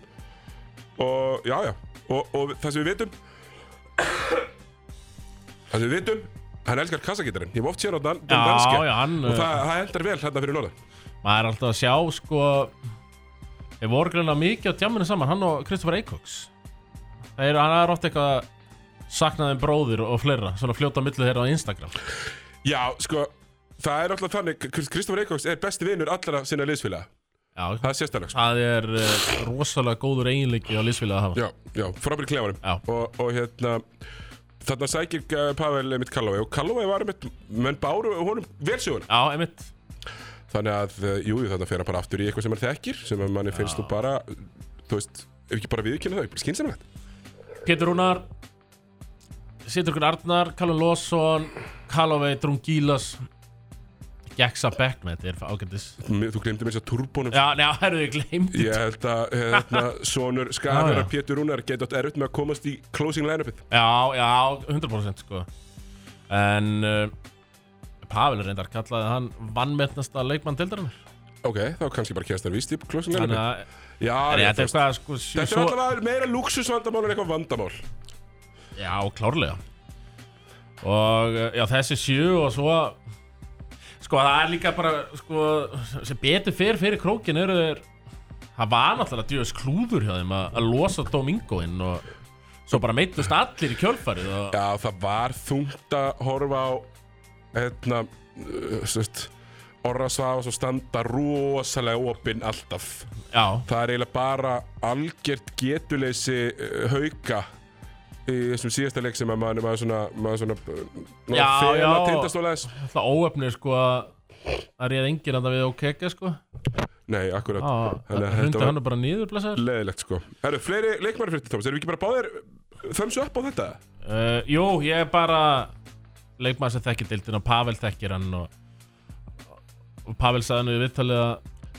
[SPEAKER 1] Og, já, já. Og, og það sem við vitum, það sem við vitum, hann elskar kassagítarinn. Ég hef oft séð á Dan, Dan
[SPEAKER 2] Já,
[SPEAKER 1] Danske.
[SPEAKER 2] já, hann, eh,
[SPEAKER 1] Og það, það endar vel hérna fyrir norðan.
[SPEAKER 2] Maður er alltaf að sjá sko Við vorum greina mikið á tjáminu saman Hann og Kristoffer Eikóks Það er, hann er oft eitthvað Saknaðin bróðir og fleira Svona fljóta á millu þeirra á Instagram
[SPEAKER 1] Já, sko, það er alltaf þannig, Kristofur Eikóks er besti vinur allra sinna liðsfélaga.
[SPEAKER 2] Já
[SPEAKER 1] Það er sérstæðlega, sko.
[SPEAKER 2] Það er eh, rosalega góður eiginleiki á liðsfélagi að hafa
[SPEAKER 1] Já, já, frábæri klefanum.
[SPEAKER 2] Já.
[SPEAKER 1] Og, og hérna, þarna sækir eh, Pavel mitt Kallói og Kallói var mitt, menn báru honum velsjóðuna.
[SPEAKER 2] Já, einmitt
[SPEAKER 1] Þannig að, eh, jú, þarna fer hann bara aftur í eitthvað sem hann þekkir, sem að manni finnst þú bara, þú veist, ef ekki bara viðkynna það, skynsamlegt.
[SPEAKER 2] Pétur Rúnar Sittur okkur Arnar, Callum Lawson Callaway, Drungilas Geksa Beckman, þetta er ágændis
[SPEAKER 1] M- Þú glemdi mér þess að turbónum.
[SPEAKER 2] Já, neða, herðu, ég gleymd
[SPEAKER 1] Ég held að, hérna, sonur Skarhara
[SPEAKER 2] Já, já.
[SPEAKER 1] Pétur Rúnar geti átt erfitt með að komast í closing line-upið.
[SPEAKER 2] Já, já, 100% sko En uh, Pavel reyndar kallaði hann vannmetnasta leikmann deildarinnar
[SPEAKER 1] Ok, þá kannski bara kjæst hann víst í closing
[SPEAKER 2] Þannig
[SPEAKER 1] line-upið.
[SPEAKER 2] að,
[SPEAKER 1] Já,
[SPEAKER 2] er
[SPEAKER 1] já,
[SPEAKER 2] þetta
[SPEAKER 1] þú
[SPEAKER 2] er hvað sko sjö-
[SPEAKER 1] Þetta er allavega meira luxusvandamál en eitthvað vandamál
[SPEAKER 2] Já, klárlega Og eh, já, þessi sjö og svo Sko, það er líka bara Sko, sem betur fyrir fyrir krókin eru þeir Það var náttúrulega djöðs klúður hjá þeim að, að losa Domingoinn og svo bara meittust allir í kjölfarið og
[SPEAKER 1] Já, það var þungt að horfa á hérna uh, sest, Orra Svavas og standa rosalega opinn alltaf
[SPEAKER 2] já,
[SPEAKER 1] Það er eiginlega bara algjört getuleysi uh, hauka í þessum síðasta leik sem að maður maður svona, maður svona uh, maður
[SPEAKER 2] Já,
[SPEAKER 1] fel að
[SPEAKER 2] já.
[SPEAKER 1] tindastóla þess
[SPEAKER 2] það óöfnir sko að að réð enginn að það við okega sko
[SPEAKER 1] Nei, akkurat
[SPEAKER 2] Það
[SPEAKER 1] Þannig að
[SPEAKER 2] hundi
[SPEAKER 1] þetta
[SPEAKER 2] Ah, hann
[SPEAKER 1] var
[SPEAKER 2] er bara niður blessaður
[SPEAKER 1] leðilegt sko Herru, fleiri leikmæri fyrir Thomas, erum við ekki bara báðir þömsu upp á þetta?
[SPEAKER 2] uh, Jú, ég er bara leikmaður sem þekkir deildin og Pavel þekkir hann og, og Pavel sagði hann við viðtalið að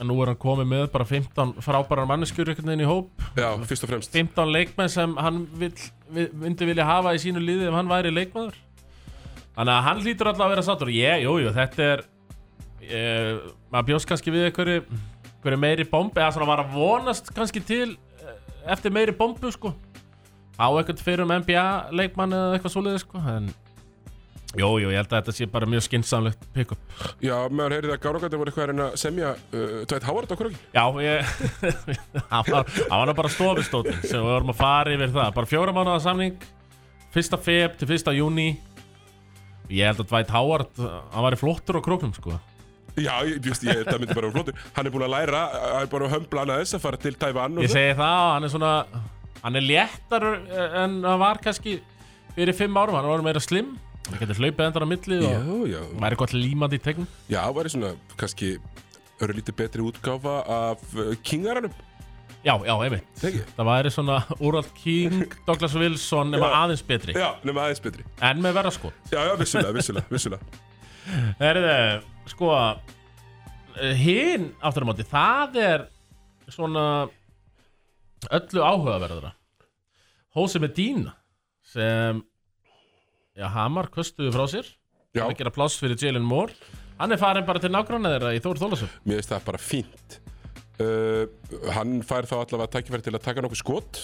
[SPEAKER 2] að nú er hann komið með bara 15 frábærar manneskjur einhvern veginn í hóp
[SPEAKER 1] Já, fyrst og fremst
[SPEAKER 2] 15 leikmenn sem hann vil, vil, myndi vilja hafa í sínu liði ef hann væri leikmaður Þannig að hann lítur alltaf að vera sattur Ég, jú, jú, þetta er ég, maður bjóst kannski við einhverju einhverju meiri bombi eða svona var að vonast kannski til eh, eftir meiri bombu sko á eitthvað fyrir um NBA leikmann eða eitthvað svoleiði sko en jú, jú, ég held að þetta sé bara mjög skinsamlegt pick-up
[SPEAKER 1] Já, meðan heyrið að Gárangandi voru eitthvað að reyna að semja uh, Dwight Howard á krökin
[SPEAKER 2] Já, ég Það var, það var nú bara stofistótin sem við vorum að fara yfir það Bara fjóra mánuða samning 1. feb til 1. júni Ég held að Dwight Howard Hann var í flottur á króknum sko
[SPEAKER 1] Já, ég, just, ég, það myndi bara vera flottur Hann er búin að læra, hann er bara að hömbla hann aðeins að fara til Taiwan og
[SPEAKER 2] Ég segi það og hann er svona Hann er léttar en hann eh, var kannski fyrir fimm árum, hann var meira slim hann getur hlaupið endar á milli og
[SPEAKER 1] Já, já.
[SPEAKER 2] væri gott límandi í tegnum
[SPEAKER 1] Já, væri svona kannski öru lítið betri útgáfa af uh, kingaranum,
[SPEAKER 2] já, já, einmitt
[SPEAKER 1] teki?
[SPEAKER 2] það væri svona Úrald King, Douglas Wilson nema
[SPEAKER 1] Já.
[SPEAKER 2] aðeins betri,
[SPEAKER 1] Já, nema aðeins betri.
[SPEAKER 2] en með verða sko
[SPEAKER 1] Já, já, vissulega, vissulega, vissulega.
[SPEAKER 2] Herðu, sko hinn aftur á móti, það er svona öllu áhugaverðara Hósi Medina sem já, Hamar köstuðu frá sér
[SPEAKER 1] Já,
[SPEAKER 2] að gera pláss fyrir Jalen Moore hann er farin bara til nágranna þeirra í Þór Þólasöf
[SPEAKER 1] mér finnst það bara fínt. Uh, hann fær þá allavega tækifæri til að taka nokkuð skot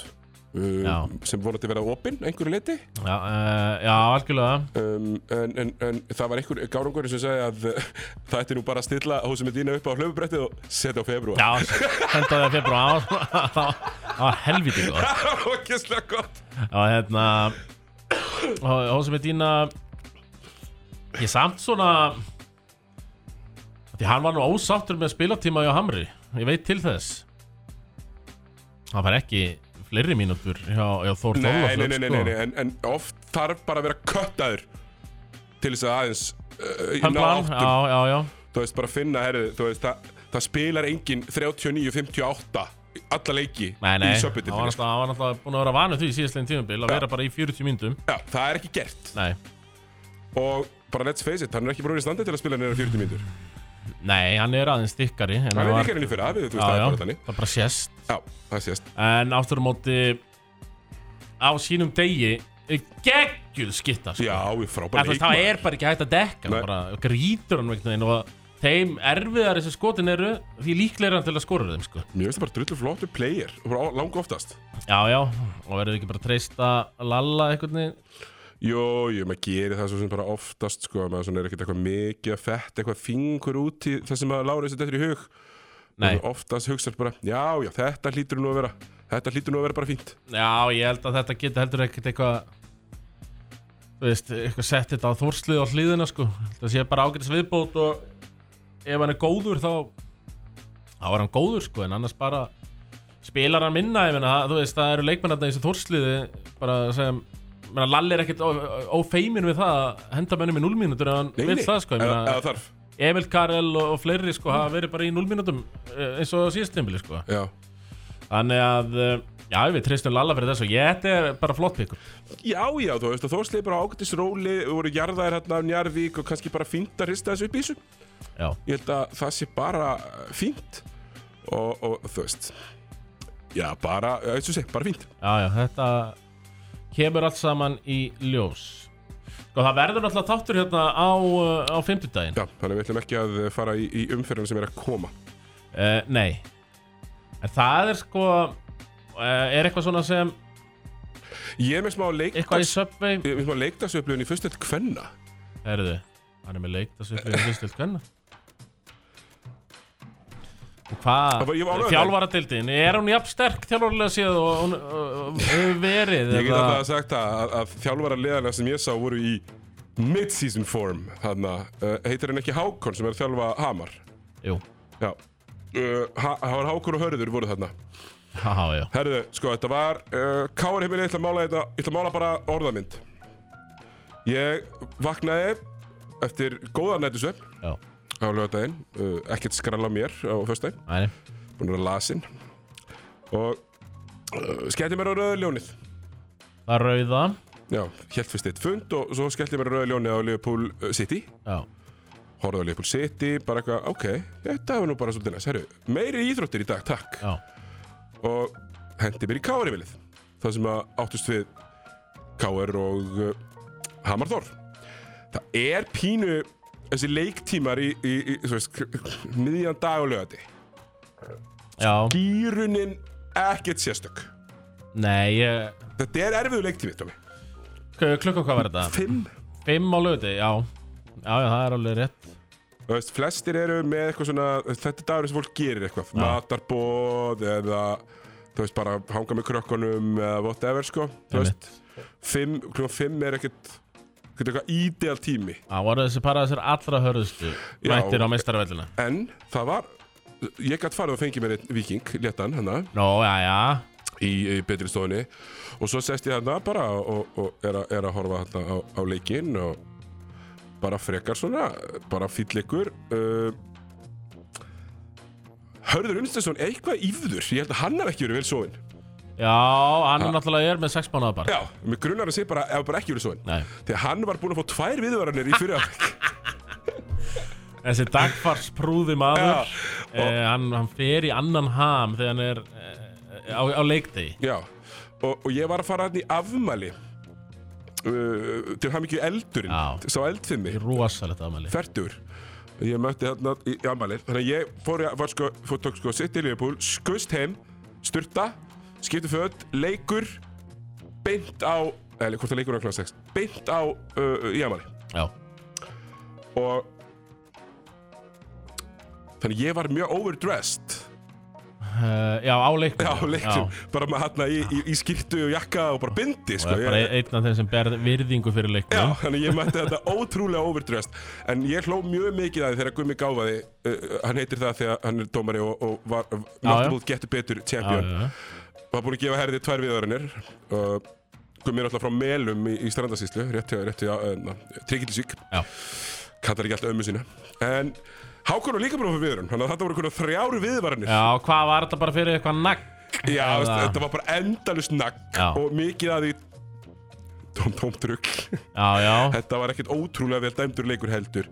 [SPEAKER 2] Já.
[SPEAKER 1] uh, sem vonandi verða opinn einhverju leiti
[SPEAKER 2] já, uh, já, algjörlega
[SPEAKER 1] um, en, en, en það var einhver gárangur sem sagði að uh, það ætti nú bara að stilla húsum með dýna upp á hlaupubrettið og setja á februar
[SPEAKER 2] já, sendaði að februar það var helviti góð
[SPEAKER 1] okkislega gott
[SPEAKER 2] Já, hérna Hósi Medina Ég samt svona Því hann var nú ósáttur með spilatíma hjá Hamri Ég veit til þess Hann fær ekki fleiri mínútur hjá, hjá Þór sko.
[SPEAKER 1] Nei, nei,
[SPEAKER 2] Þorlaflöf
[SPEAKER 1] nei, nei, nei, nei. En, en oft þarf bara að vera köttaður til þess að aðeins uh, ná
[SPEAKER 2] Plan,
[SPEAKER 1] áttum,
[SPEAKER 2] já, já, já
[SPEAKER 1] þú veist, bara finna herri, þú veist, það, það spilar engin 39-58 í alla leiki
[SPEAKER 2] Nei, nei,
[SPEAKER 1] í sko.
[SPEAKER 2] hann var
[SPEAKER 1] söpbytið
[SPEAKER 2] náttúrulega- hann var náttúrulega búin að vera vanu því síðastlegin tímabil að vera bara í 40 mínútum
[SPEAKER 1] Já, það er ekki gert
[SPEAKER 2] Nei,
[SPEAKER 1] og bara let's face it, hann er ekki bara í standi til að spila neina 40 mínútur
[SPEAKER 2] nei, hann er aðeins stikkari en
[SPEAKER 1] hann er
[SPEAKER 2] var-
[SPEAKER 1] líka hérna henni fyrir aðið, þú veist,
[SPEAKER 2] Já,
[SPEAKER 1] það er
[SPEAKER 2] já,
[SPEAKER 1] bara þannig
[SPEAKER 2] það bara sést
[SPEAKER 1] Já, það sést
[SPEAKER 2] En aftur á móti á sínum degi geggjul skitta sko.
[SPEAKER 1] Já, við
[SPEAKER 2] En
[SPEAKER 1] frábæra
[SPEAKER 2] þú veist, Það er bara ekki hægt að dekka
[SPEAKER 1] Nei.
[SPEAKER 2] hann bara grítur hann veginn og þeim erfiðar þessi skotin eru því líklega er hann til að skora þeim sko.
[SPEAKER 1] Mér finnst það bara drullu flottur player og bara langa oftast
[SPEAKER 2] Já, já, og verður ekki bara að treysta Lalla einhvern veginn
[SPEAKER 1] Jó, jú, maður gerir það svo sem bara oftast sko, maður svona er ekkert eitthvað mikið að fett eitthvað fingur út í það sem að Lára þessi þetta er í hug
[SPEAKER 2] Nei,
[SPEAKER 1] Og Oftast hugsar bara, já, já, þetta hlýtur nú að vera Þetta hlýtur nú að vera bara fínt
[SPEAKER 2] já, ég held að þetta getur heldur ekkert eitthvað þú veist, eitthvað sett þetta á þórslið á hlýðina sko. það sé bara ágætis viðbót og ef hann er góður þá þá er hann góður sko, en annars bara spilar hann minna, ég meina, það- þú veist, það eru leikmennarna í þessu þórsliði, bara sem ég meina, Lalli er ekkert ó- ófeimin við það að henda mönnum í 0 mínútur en hann vil það sko, ég
[SPEAKER 1] eða, eða
[SPEAKER 2] meina,
[SPEAKER 1] þarf
[SPEAKER 2] Emil Karel og, og fleiri sko hafa verið bara í 0 mínútum eh, eins og síðast tímbili sko
[SPEAKER 1] Já,
[SPEAKER 2] þannig að, eh, já við treystum Lalla fyrir þessu, ég þetta er bara flott píkur
[SPEAKER 1] já, já þú veist, þó sleið bara ágættis róli Þú voru jarðaðir hérna af Njarvík og kannski bara fínt að hrista þessu upp í þessu
[SPEAKER 2] já,
[SPEAKER 1] Ég held að það sé bara eh, fínt og, og þú veist Já, bara, eh, eins og seg, bara fínt
[SPEAKER 2] já, já, þetta kemur allt saman í ljós sko það verður náttúrulega þáttur hérna á, eh, á fimmtudaginn
[SPEAKER 1] Já, þannig að við ætlum ekki að fara í, í umferðina sem er að koma
[SPEAKER 2] Uh, nei En það er sko uh, Er eitthvað svona sem
[SPEAKER 1] Ég er með smá
[SPEAKER 2] Eitthvað í
[SPEAKER 1] leikdags
[SPEAKER 2] Subway
[SPEAKER 1] Ég er með smá leikdagsöflugin í fyrstu til kvenna
[SPEAKER 2] Herðu, hann er með leikt að svipið Fyrstild kvenna Og
[SPEAKER 1] Það
[SPEAKER 2] hvað
[SPEAKER 1] var- ég var ánægður með
[SPEAKER 2] Þjálfaradildin, er hún jafn sterk Þjálfarlega séð og hún uh, hefur verið
[SPEAKER 1] Ég get
[SPEAKER 2] eða-
[SPEAKER 1] alltaf sagt að, að, að þjálfara liðana sem ég sá voru í mid-season form Þannig að uh, heitir hann ekki Hákon sem er að þjálfa Hamar
[SPEAKER 2] Jú,
[SPEAKER 1] Já Uh, ha, það var Hákon og Hörður voru þarna
[SPEAKER 2] já, já,
[SPEAKER 1] Herðu, sko, þetta var uh, Káar heimili, ég ætla að mála, þetta, ég ætla að mála bara orðamynd Ég vaknaði eftir góða nættusvepp
[SPEAKER 2] já
[SPEAKER 1] á lögadaginn uh, Ekkert skrall á mér á föstudaginn
[SPEAKER 2] Æni,
[SPEAKER 1] Búin að vera lasinn Og uh, skellti mér á rauðu ljónið
[SPEAKER 2] það rauða
[SPEAKER 1] Já, hélt fyrst eitt fund og svo skellti ég mér rauða ljónið á Liverpool uh, City
[SPEAKER 2] Já,
[SPEAKER 1] Horfði á Liverpool City, bara eitthvað, ok Þetta var nú bara svolítið næst, herru Meiri íþróttir í dag, takk
[SPEAKER 2] já,
[SPEAKER 1] Og hendi mér í K.R.-vilið Það sem að áttust við K.R. og uh, Hamar Þór Það er pínu Þessi leiktímar í, í, í svo veist, k- k- miðjan dag og lögati
[SPEAKER 2] já
[SPEAKER 1] Gýrunin ekkert sérstök
[SPEAKER 2] Nei, ég
[SPEAKER 1] Þetta er erfiðu leiktími, Tómi
[SPEAKER 2] Klukkan hvað var þetta?
[SPEAKER 1] Fimm
[SPEAKER 2] Fimm á lögði, já Já, já, það er alveg rétt
[SPEAKER 1] Þú veist, flestir eru með eitthvað svona þetta er dagur sem fólk gerir eitthvað ja. matarboð eða þú veist, bara hanga með krökkunum eða whatever, sko þú
[SPEAKER 2] Einmitt.
[SPEAKER 1] veist, fimm, kljóðan fimm er ekkert ekkert eitthvað ídeal tími
[SPEAKER 2] Það voru þessi bara þessir allra hörðustu
[SPEAKER 1] Já.
[SPEAKER 2] Mættir á meistarvellina
[SPEAKER 1] en það var ég gætt farið og fengið mér einn viking, léttan, hann
[SPEAKER 2] Nó, já, já
[SPEAKER 1] í, í betri stofunni og svo sest ég þarna bara og, og er, a, er að horfa þarna á, á leikinn og bara frekar svona bara fýlleikur uh, Hörður Unstensson eitthvað yfður, ég held að hann hef ekki verið vel sofinn
[SPEAKER 2] Já, hann er náttúrulega er með 6 mánuða bara
[SPEAKER 1] Já, með grunnar að segja bara, ef bara ekki verið sofinn
[SPEAKER 2] Nei.
[SPEAKER 1] Þegar hann var búinn að fá tvær viðvaranir í fyrir
[SPEAKER 2] Þessi dagfars prúði
[SPEAKER 1] Já,
[SPEAKER 2] maður eh, hann, hann fer í annan ham þegar hann er eh, á, á leikdegi
[SPEAKER 1] Já, og, og ég var að fara hann í afmæli uh, til hann ekki eldurinn,
[SPEAKER 2] Já.
[SPEAKER 1] sá eldfimmi
[SPEAKER 2] Rósalegt afmæli
[SPEAKER 1] Fertur Ég mötti þarna í í afmæli Þannig að ég fór, í- var sko, fór tók sko sitt í Liverpool Skust heim, sturta Skipti föt, leikur Beint á Eller hvort það leikur er klasa 6 Beint á uh, í afmæli
[SPEAKER 2] Já,
[SPEAKER 1] Og Þannig ég var mjög overdressed
[SPEAKER 2] Eh, já á leikdegi
[SPEAKER 1] á leiknum, bara með hann í, í, í skýrtu og jakka og bara bindi
[SPEAKER 2] Og
[SPEAKER 1] sko.
[SPEAKER 2] er
[SPEAKER 1] Ég-
[SPEAKER 2] bara einn af þeim sem ber virðingu fyrir
[SPEAKER 1] Já,
[SPEAKER 2] leikdegi
[SPEAKER 1] þannig ég mætti þetta ótrúlega overdressed En ég hló mjög mikið að því þegar Gummi gáfaði uh, Hann heitir það þegar hann er dómari og, og var uh, Multiple getur betur champion
[SPEAKER 2] já,
[SPEAKER 1] Var búin að gefa herði tvær viðvörunir uh, Gummi er alltaf frá Melum í, í strandasýslu Rétt hjá, rétt hjá, uh, Tryggilsvík
[SPEAKER 2] já.
[SPEAKER 1] Kallar ekki alltaf ömmu sína En Hákon var líka búin að fá viðvörun Þannig að þetta voru konar þrjár viðvörunir
[SPEAKER 2] já, hvað var þetta bara fyrir eitthvað nagg?
[SPEAKER 1] Já,
[SPEAKER 2] Eða-
[SPEAKER 1] veist, þetta var bara endalust nagg
[SPEAKER 2] Já.
[SPEAKER 1] Og mikið að því Tóm, tóm drugg
[SPEAKER 2] Já, já,
[SPEAKER 1] Þetta var ekkert ótrúlega vel dæmdur leikur heldur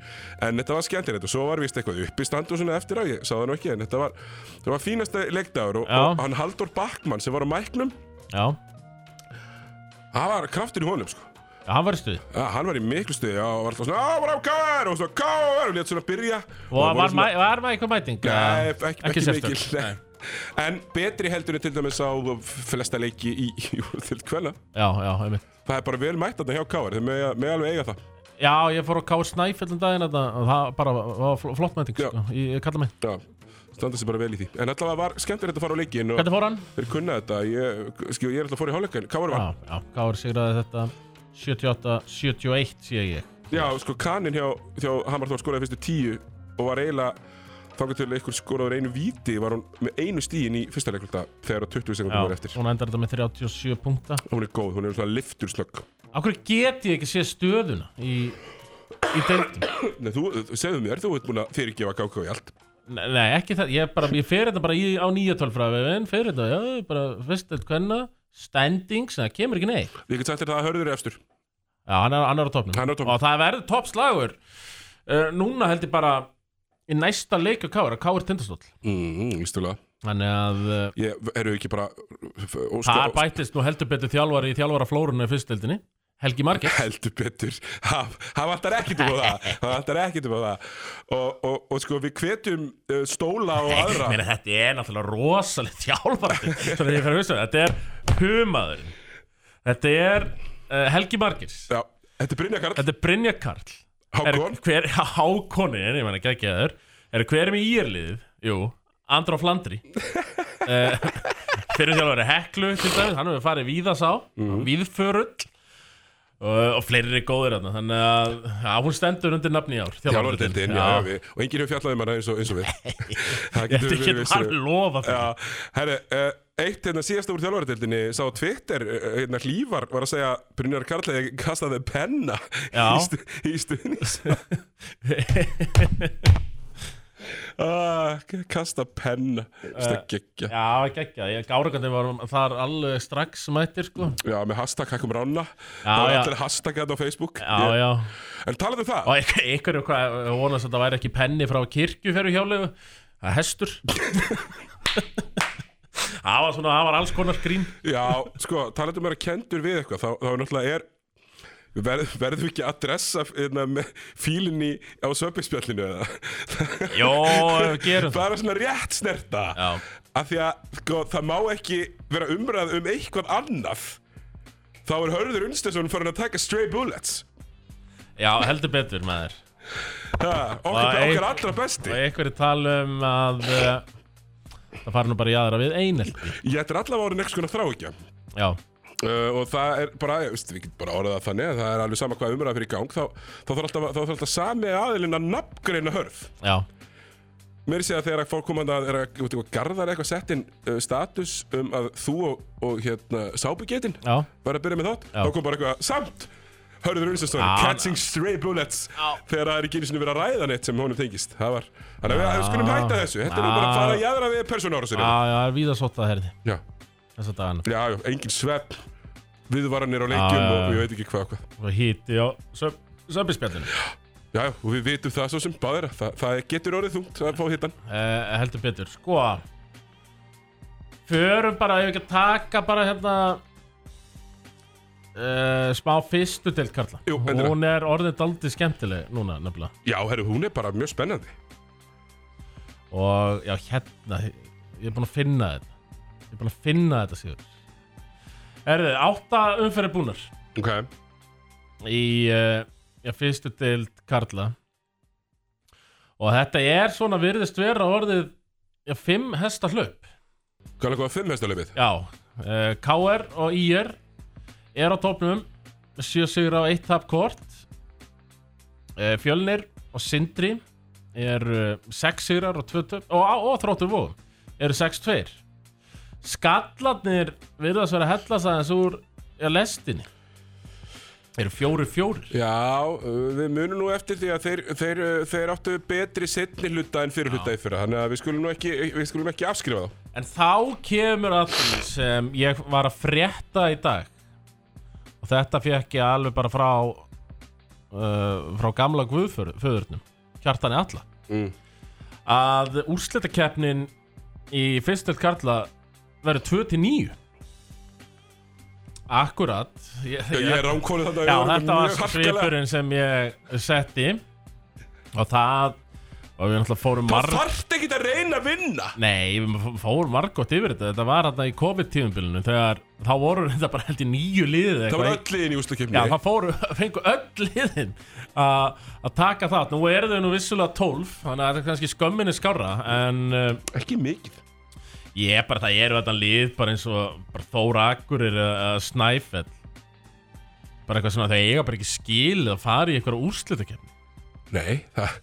[SPEAKER 1] En þetta var skemmtilegt og svo var vist eitthvað uppistand og svona eftir á, ég sá það nú ekki En þetta var, þetta var fínasta leikdagur og,
[SPEAKER 2] Já.
[SPEAKER 1] og hann Haldur Backmann sem var á mæknum
[SPEAKER 2] já
[SPEAKER 1] Það var kraftur í honum sko
[SPEAKER 2] Já, hann var í stuði
[SPEAKER 1] ja, Hann var í miklu stuði og var alltaf svona Á, bara á KR og svona KR og létt svona byrja
[SPEAKER 2] Og
[SPEAKER 1] það
[SPEAKER 2] var,
[SPEAKER 1] voru
[SPEAKER 2] var, mæ, var maður eitthvað mæting?
[SPEAKER 1] Nei, ekki, ekki, ekki
[SPEAKER 2] sérstök.
[SPEAKER 1] mikil nei. En betri heldur en til dæmis á flesta leiki í, í, í til kvenna
[SPEAKER 2] Já, já, einmitt
[SPEAKER 1] Það er bara vel mætt þarna hjá KR, þeir með, með alveg eiga það
[SPEAKER 2] Já, ég fór á K.S. Snæfjöldum um daginn þetta og það bara var fl- flott mæting
[SPEAKER 1] Já.
[SPEAKER 2] sko, í kalla mig
[SPEAKER 1] Já, standa sig bara vel í því En allavega var skemmtilegt að fara á leikin og,
[SPEAKER 2] Hvernig fór hann?
[SPEAKER 1] Þeir kunna þetta, ég, skjó, ég er alltaf fór í hálfleikin Káar
[SPEAKER 2] Já,
[SPEAKER 1] var,
[SPEAKER 2] já, K.S. sigraði þetta 78-71 sé ég
[SPEAKER 1] já, sko kaninn hjá, hjá Hamar Þór skoraði fyrstu tíu og var eiginlega þangar til einhver skoraður einu víti var hún með einu stíin í fyrsta leikluta þegar að 20
[SPEAKER 2] Já,
[SPEAKER 1] sekundum var eftir
[SPEAKER 2] hún endar þetta með 37 punkta
[SPEAKER 1] og hún er góð, hún er svona liftur slögg
[SPEAKER 2] Af hverju get ég ekki séð stöðuna í, í deildum?
[SPEAKER 1] Nei, þú, þú- segðu mér, þú ert búin að fyrirgefa káká í allt
[SPEAKER 2] Nei, nei, ekki það, ég, bara, ég fer þetta bara í, á nýja tölfræðin, fer þetta, já, ég bara fyrst eitt hvenna, standings, það kemur ekki neitt.
[SPEAKER 1] Ég get sagt þér það að hörður er efstur
[SPEAKER 2] Já, hann er, hann er á topnum.
[SPEAKER 1] Hann er á toppnum.
[SPEAKER 2] Og það verður toppslagur. Uh, núna held ég bara í næsta leik á Káur, að Káur tindastóll.
[SPEAKER 1] mm, Ístulega
[SPEAKER 2] Þannig að uh,
[SPEAKER 1] Ég eru ekki bara sko,
[SPEAKER 2] það
[SPEAKER 1] óskar,
[SPEAKER 2] bættist nú heldur betur þjálfari í þjálfara flórunni fyrstdeildinni. Helgi Margir.
[SPEAKER 1] heldur betur hann vantar ekkert um á það hann vantar ekkert um á það og, og, og sko við hvetjum uh, stóla og aðra
[SPEAKER 2] Meina, þetta er náttúrulega rosalegt þjálfari Svo þegar ég fer að hugsa, um þetta er humaður Þetta er uh, Helgi Margers
[SPEAKER 1] Já, þetta er Brynja Karl
[SPEAKER 2] Þetta er Brynja Karl
[SPEAKER 1] Hákon.
[SPEAKER 2] er, hver, Hákonin, ég meina geggjaður Er hver er með írliðið? Jú, Andróf Landri uh, Fyrir þjálfari Heklu til dæmis Hann hefur farið víðasá,
[SPEAKER 1] Mhm.
[SPEAKER 2] mm. víðförull og, og fleiri góðir þarna Þannig að já, hún stendur undir nafni í ár
[SPEAKER 1] Þjálfardeldin, já, já. við, og enginn hefur fjallað um hana eins og, eins og við Það
[SPEAKER 2] Þetta
[SPEAKER 1] getur
[SPEAKER 2] getur
[SPEAKER 1] verið
[SPEAKER 2] hann
[SPEAKER 1] vissu
[SPEAKER 2] lofa fyrir
[SPEAKER 1] Já, herri, uh, eitt hérna síðasta úr þjálfardeldinni sá á Twitter, eh, hérna hlývar var að segja Brynjar Karlæði kastaði penna
[SPEAKER 2] Já.
[SPEAKER 1] í, stu, í stuðnings ah, Kasta penna, stökkjækja uh,
[SPEAKER 2] Eh, Já, ekki ekki, ég gárakandi var þar alveg strax mættir sko
[SPEAKER 1] Já, með hashtag hækkum rána
[SPEAKER 2] Já,
[SPEAKER 1] Það var
[SPEAKER 2] já.
[SPEAKER 1] allir hashtag hérna á Facebook
[SPEAKER 2] Já,
[SPEAKER 1] Ég-
[SPEAKER 2] já,
[SPEAKER 1] En talaðu um það,
[SPEAKER 2] og einhver- einhverju hvað, ég vonast að það væri ekki penni frá kirkju fyrir hjálegu Það er hestur Það var svona, það var alls konar grín
[SPEAKER 1] Já, sko, talandum um að vera kendur við eitthvað þá, þá er náttúrulega er verð, verðum við ekki að dressa hérna, með fílinni á söpingspjallinu eða
[SPEAKER 2] Jó, við gerum það
[SPEAKER 1] bara svona rétt snerta
[SPEAKER 2] Já.
[SPEAKER 1] af því að sko, það má ekki vera umræð um eitthvað annað þá er Hörður Unstensson farin að taka stray bullets
[SPEAKER 2] Já, heldur betur maður
[SPEAKER 1] ha,
[SPEAKER 2] Og
[SPEAKER 1] okkar,
[SPEAKER 2] ein-
[SPEAKER 1] okkar allra
[SPEAKER 2] Og
[SPEAKER 1] besti
[SPEAKER 2] einhverju tala um að uh, Það fari nú bara í aðra við einelti
[SPEAKER 1] ég ættir allavega orðin eitthvað þrá ekki
[SPEAKER 2] Já,
[SPEAKER 1] Uh, og það er bara, ég veist, við getum bara orðað það þannig að það er alveg sama hvað umræða fyrir í gang þá, þá þarf alltaf, þá þarf alltaf sami aðilinn að nafngreina hörð
[SPEAKER 2] já,
[SPEAKER 1] Mér sé að þegar fólk komandi að er að út í hvað garðar eitthvað sett inn uh, status um að þú og, og hérna sábyggetin
[SPEAKER 2] Já.
[SPEAKER 1] var að byrja með þátt
[SPEAKER 2] Já.
[SPEAKER 1] þá kom bara eitthvað samt Hörður Unnistastóri,
[SPEAKER 2] Já,
[SPEAKER 1] catching stray bullets
[SPEAKER 2] Já.
[SPEAKER 1] þegar það er ekki einu sinni verið að ræða neitt sem honum tengist það var, þannig að við- við skulum hætta þessu þetta er nú
[SPEAKER 2] Já.
[SPEAKER 1] bara að fara að jæðra við persónuárásinni
[SPEAKER 2] Já, já, það er víða sótt að herði
[SPEAKER 1] Já,
[SPEAKER 2] Þess að dagana
[SPEAKER 1] já, já, engin svepp viðvaranir á leikjum
[SPEAKER 2] já, já.
[SPEAKER 1] og ég veit ekki hvað og hvað
[SPEAKER 2] Og híti á sömbispjallinu
[SPEAKER 1] Já, já, og við vitum það svo sem báðir að það, það getur orðið þungt að fá hittan
[SPEAKER 2] uh, Heldur betur Sko Förum bara, ef við ekki að taka bara hérna uh, Smá fyrstu deild Karla
[SPEAKER 1] Jú, endilega.
[SPEAKER 2] Hún er orðin daldið skemmtileg núna nefnilega
[SPEAKER 1] Já, herru, hún er bara mjög spennandi
[SPEAKER 2] Og já, hérna Ég er búinn að finna þetta Ég er búinn að finna þetta síður Erðu, átta umferði búnar
[SPEAKER 1] Ok,
[SPEAKER 2] í uh, já, fyrstu deild Karla og þetta er svona virðist vera orðið já, fimm hesta hlaup
[SPEAKER 1] hvað er eitthvað fimm hestalöfið?
[SPEAKER 2] já, uh, KR og IR er á topnum með sjö sigur á eitt tap kort uh, Fjölnir og Sindri er uh, sex sigrar og, tvö töp- og, og, og þróttur vóðum eru 6-2 Skallarnir virðast vera að hellast aðeins úr já, lestinni eru 4-4
[SPEAKER 1] Já, uh, við munum nú eftir því að þeir, þeir, uh, þeir áttu betri setni hluta en fyrir hluta í fyrra Þannig að við skulum, nú ekki, við skulum ekki afskrifa þá
[SPEAKER 2] En þá kemur að því sem ég var að frétta í dag og þetta fekk ég alveg bara frá uh, frá gamla guðföðurnum kjartani alla
[SPEAKER 1] Mm.
[SPEAKER 2] að úrslitakeppnin í fyrstöld karla verður 2-9 Akkurat ég,
[SPEAKER 1] Ég er ránkólið þetta
[SPEAKER 2] Já, þetta var svipurinn sem ég setti og það og við náttúrulega fórum
[SPEAKER 1] Það
[SPEAKER 2] marg
[SPEAKER 1] þarft ekki að reyna að vinna
[SPEAKER 2] Nei, við f- fórum margótt yfir þetta Þetta var þarna í COVID-tíðumbilinu Þegar þá voru þetta bara held í nýju liðið
[SPEAKER 1] Það
[SPEAKER 2] eitthvað.
[SPEAKER 1] var öll liðin í
[SPEAKER 2] Já,
[SPEAKER 1] ústakefni
[SPEAKER 2] það fóru, fengu öll liðin að að taka það Nú eru þau nú vissulega 12 Þannig að þetta er kannski skömminni skárra En uh,
[SPEAKER 1] Ekki mikið
[SPEAKER 2] ég er bara, það eru þetta lið Bara eins og bara Þóra Akkurir eða Snæfell Bara eitthvað svona, þegar eiga bara ekki skil Að fara í eitthvað úrslitakeppni
[SPEAKER 1] Nei, það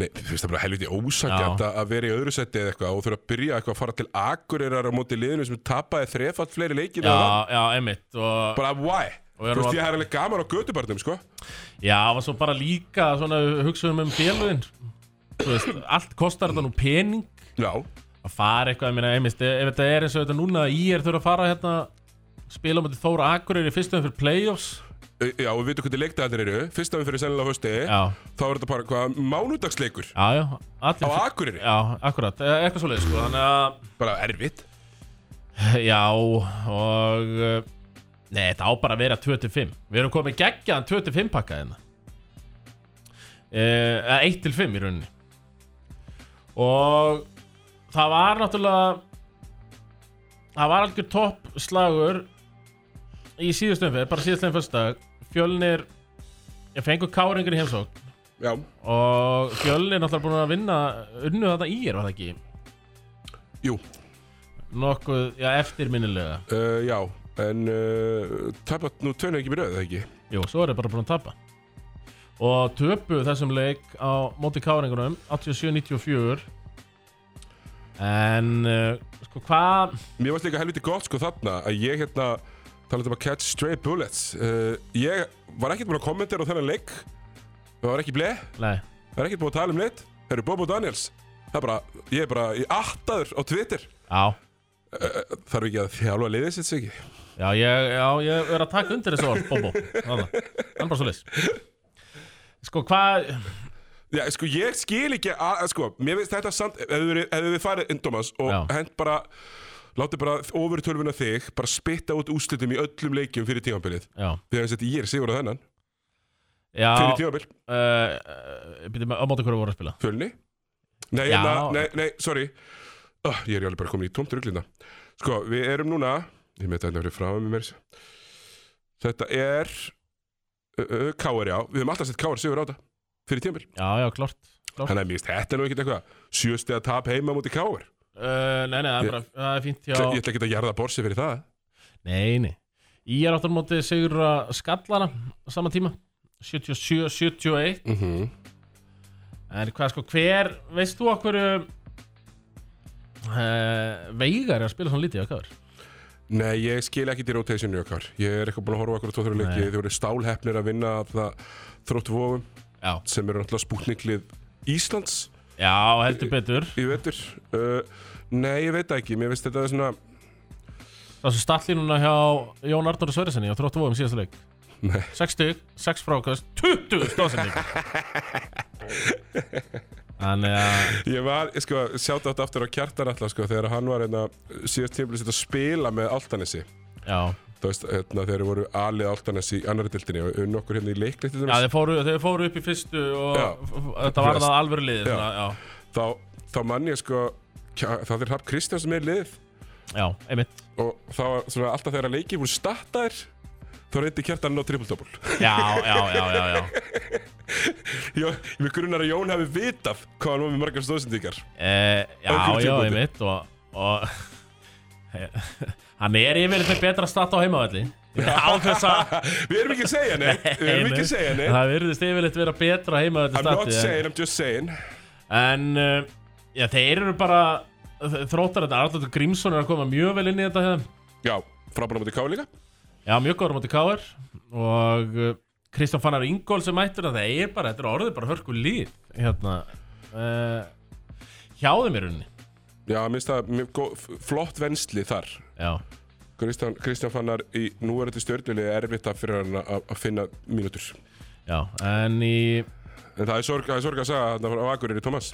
[SPEAKER 1] Nei, þú veist það er bara helviti ósakjæmt
[SPEAKER 2] Já.
[SPEAKER 1] að að vera í öðru seti eða eitthvað og þurfa að byrja eitthvað að fara til Akureyrar á móti liðinu sem tapaði þrefalt fleiri leikir
[SPEAKER 2] Já,
[SPEAKER 1] en það.
[SPEAKER 2] já, einmitt og,
[SPEAKER 1] bara why?
[SPEAKER 2] Og
[SPEAKER 1] Þú
[SPEAKER 2] erum
[SPEAKER 1] veist,
[SPEAKER 2] að-
[SPEAKER 1] ég er alveg gaman á götubarnum, sko
[SPEAKER 2] Já, var svo bara líka svona hugsaðum um félagin Þú veist, allt kostar þetta nú pening
[SPEAKER 1] Já,
[SPEAKER 2] að fara eitthvað, ég meina, einmist ef ef þetta er eins og þetta núna að ég er þurfa að fara hérna spila á móti Þóra Akureyri í fyrstum fyrir playoffs
[SPEAKER 1] E- já og við veitum hvernig leikdagarnir eru Fyrsta við fyrir sennilega á hösti
[SPEAKER 2] Já,
[SPEAKER 1] þá er þetta bara hvað, mánudagsleikur
[SPEAKER 2] já, já
[SPEAKER 1] á
[SPEAKER 2] allir,
[SPEAKER 1] Akureyri,
[SPEAKER 2] Já, akkurat, eh, eitthvað svoleið sko, þannig að
[SPEAKER 1] bara erfitt
[SPEAKER 2] Já, og eh, Nei, þetta á bara að vera 25 Við erum komið geggjaðan 25 pakka hérna Eh, Eða 1 til 5 í rauninni Og það var náttúrulega Það var algjör topp slagur Í síðustu umferð, bara síðustu umferð fyrstdag Fjölnir Ég fengur káringur í heimsókn
[SPEAKER 1] Já,
[SPEAKER 2] Og Fjölnir náttúrulega búin að vinna Unnu þetta í er, var það ekki
[SPEAKER 1] jú,
[SPEAKER 2] Nokkuð, já, eftirminnilega
[SPEAKER 1] uh, já en uh, tapat nú tveinu ekki mér auðvitað ekki
[SPEAKER 2] Jú, svo er það bara búin að tapa Og töpu þessum leik á móti káringunum 87-94 En uh, sko hvað
[SPEAKER 1] Mér varst líka helviti gott sko þarna að ég hérna talaði um að catch stray bullets uh, ég var ekkert búin að kommentera á þennan leik það var ekki bleið
[SPEAKER 2] Nei,
[SPEAKER 1] það er ekkert búin að tala um neitt það eru Bobo Daniels það er bara, ég er bara í attaður á Twitter
[SPEAKER 2] já
[SPEAKER 1] uh, þarf ekki að þjálfa liðið sitt sig
[SPEAKER 2] Já, ég, já, ég er að taka undir þessu orð, Bobo Þarna. Hann er bara svo leys Sko hvað
[SPEAKER 1] Já, sko, ég skil ekki að, sko, mér finnst þetta samt, ef við, ef við farið inn, Thomas, og
[SPEAKER 2] Já.
[SPEAKER 1] hent bara, látið bara ofur tölvuna þig, bara spitta út úslitum í öllum leikjum fyrir tímabilið.
[SPEAKER 2] Já,
[SPEAKER 1] Þegar þess að ég er sigur á þennan,
[SPEAKER 2] já
[SPEAKER 1] fyrir tímabil,
[SPEAKER 2] uh, Býtum að á móti hverju voru að spila
[SPEAKER 1] fjölni. Nei,
[SPEAKER 2] Já.
[SPEAKER 1] na, nei, nei, sorry. Oh, ég er alveg bara komin í tómt ruglinda. Sko, við erum núna, ég með þetta hérna fyrir frá með mér. Þetta er, uh, uh, K.R. já, við höfum alltaf sett K.R. sigur á þetta, fyrir tímabil.
[SPEAKER 2] Já, já, klart Klart.
[SPEAKER 1] Þannig að mér finnst þetta nú ekkert eitthvað, sjösti að tap heima múti K.R.
[SPEAKER 2] Uh, nei, nei, það er
[SPEAKER 1] Ég-
[SPEAKER 2] bara, það er fínt hjá
[SPEAKER 1] Ég ætla ekki að jarða borsi fyrir það.
[SPEAKER 2] Nei, nei Ég er áttur móti sigur að skallara á sama tíma 77-71
[SPEAKER 1] mm -hmm.
[SPEAKER 2] En hvað sko, hver, veist þú okkur um, uh, Veigar er að spila svona lítið á kafur
[SPEAKER 1] Nei, ég skil ekki til rotation okkar. Ég er eitthvað búin að horfa okkur á tvo þrjá leiki. Þið voru stálhefnir að vinna af það þrótt vofum
[SPEAKER 2] Já,
[SPEAKER 1] sem eru náttúrulega spútninglið Íslands
[SPEAKER 2] já heldur betur
[SPEAKER 1] í vetur. Uh, nei, ég veit það ekki. Mér finnst þetta svona...
[SPEAKER 2] Það sem stattlínuna hjá Jón Arnóri Sverjarssoni á þróttu vóðum síðasta leik
[SPEAKER 1] Nei.
[SPEAKER 2] 6 stygg, 6 frákast, 20 stóðsending Þannig að
[SPEAKER 1] Ég var, ég sko, sjátt átt aftur á kjartan alltaf, sko, þegar hann var hérna síðast tímabilið sitt að spila með Altanesi.
[SPEAKER 2] Já,
[SPEAKER 1] Þú veist, hérna, þegar þeir voru alið Altanesi í annari dildinni og unn okkur hérna í leikleitt til
[SPEAKER 2] já
[SPEAKER 1] dæmis.
[SPEAKER 2] þeir, fóru, þeir fóru upp í fyrstu og
[SPEAKER 1] Já.
[SPEAKER 2] þetta var það alvöru liðið
[SPEAKER 1] Já.
[SPEAKER 2] svona,
[SPEAKER 1] Þá, þá mann ég, sko, kja- það er Rapp Kristjáns sem er í liðið
[SPEAKER 2] já, já, einmitt
[SPEAKER 1] og þá, svona, alltaf þegar leikið voru stattaðir, þá reyndi kjartan að ná triple-double.
[SPEAKER 2] Já, já, já, já, já.
[SPEAKER 1] Já, Mér grunnar að Jón hafi vitað hvað hann var með margar stóðsendingar
[SPEAKER 2] E, Já,
[SPEAKER 1] Öðru
[SPEAKER 2] já,
[SPEAKER 1] tímabili.
[SPEAKER 2] einmitt og, og Hann er yfirleitt með betra statt á heimavalli Á þess að
[SPEAKER 1] Við erum ekki að segja neitt Við erum ekki að segja neitt
[SPEAKER 2] Það virðist yfirleitt vera betra heimavalli
[SPEAKER 1] I'm not saying, I'm just saying
[SPEAKER 2] En uh, já, þeir eru bara Þróttar þetta, Arnaldur Grímsson er að koma mjög vel inn í þetta hérna.
[SPEAKER 1] Já, frábæra mútið kálinga
[SPEAKER 2] Já, mjög góður á móti Káar Og uh, Kristján Fannar Ingól sem mættur að það er bara, þetta er orðið bara hörku líð Hérna uh, Hjáði mér unni
[SPEAKER 1] Já, minnst það, mér gó- f- flott vensli þar
[SPEAKER 2] Já,
[SPEAKER 1] Kristján, Kristján fannar í núverandi stjörnlili erfitt að fyrir hann að að finna mínútur
[SPEAKER 2] já, en í
[SPEAKER 1] En það er sorg, það er sorg að sagða að það var á Akureyri Tómas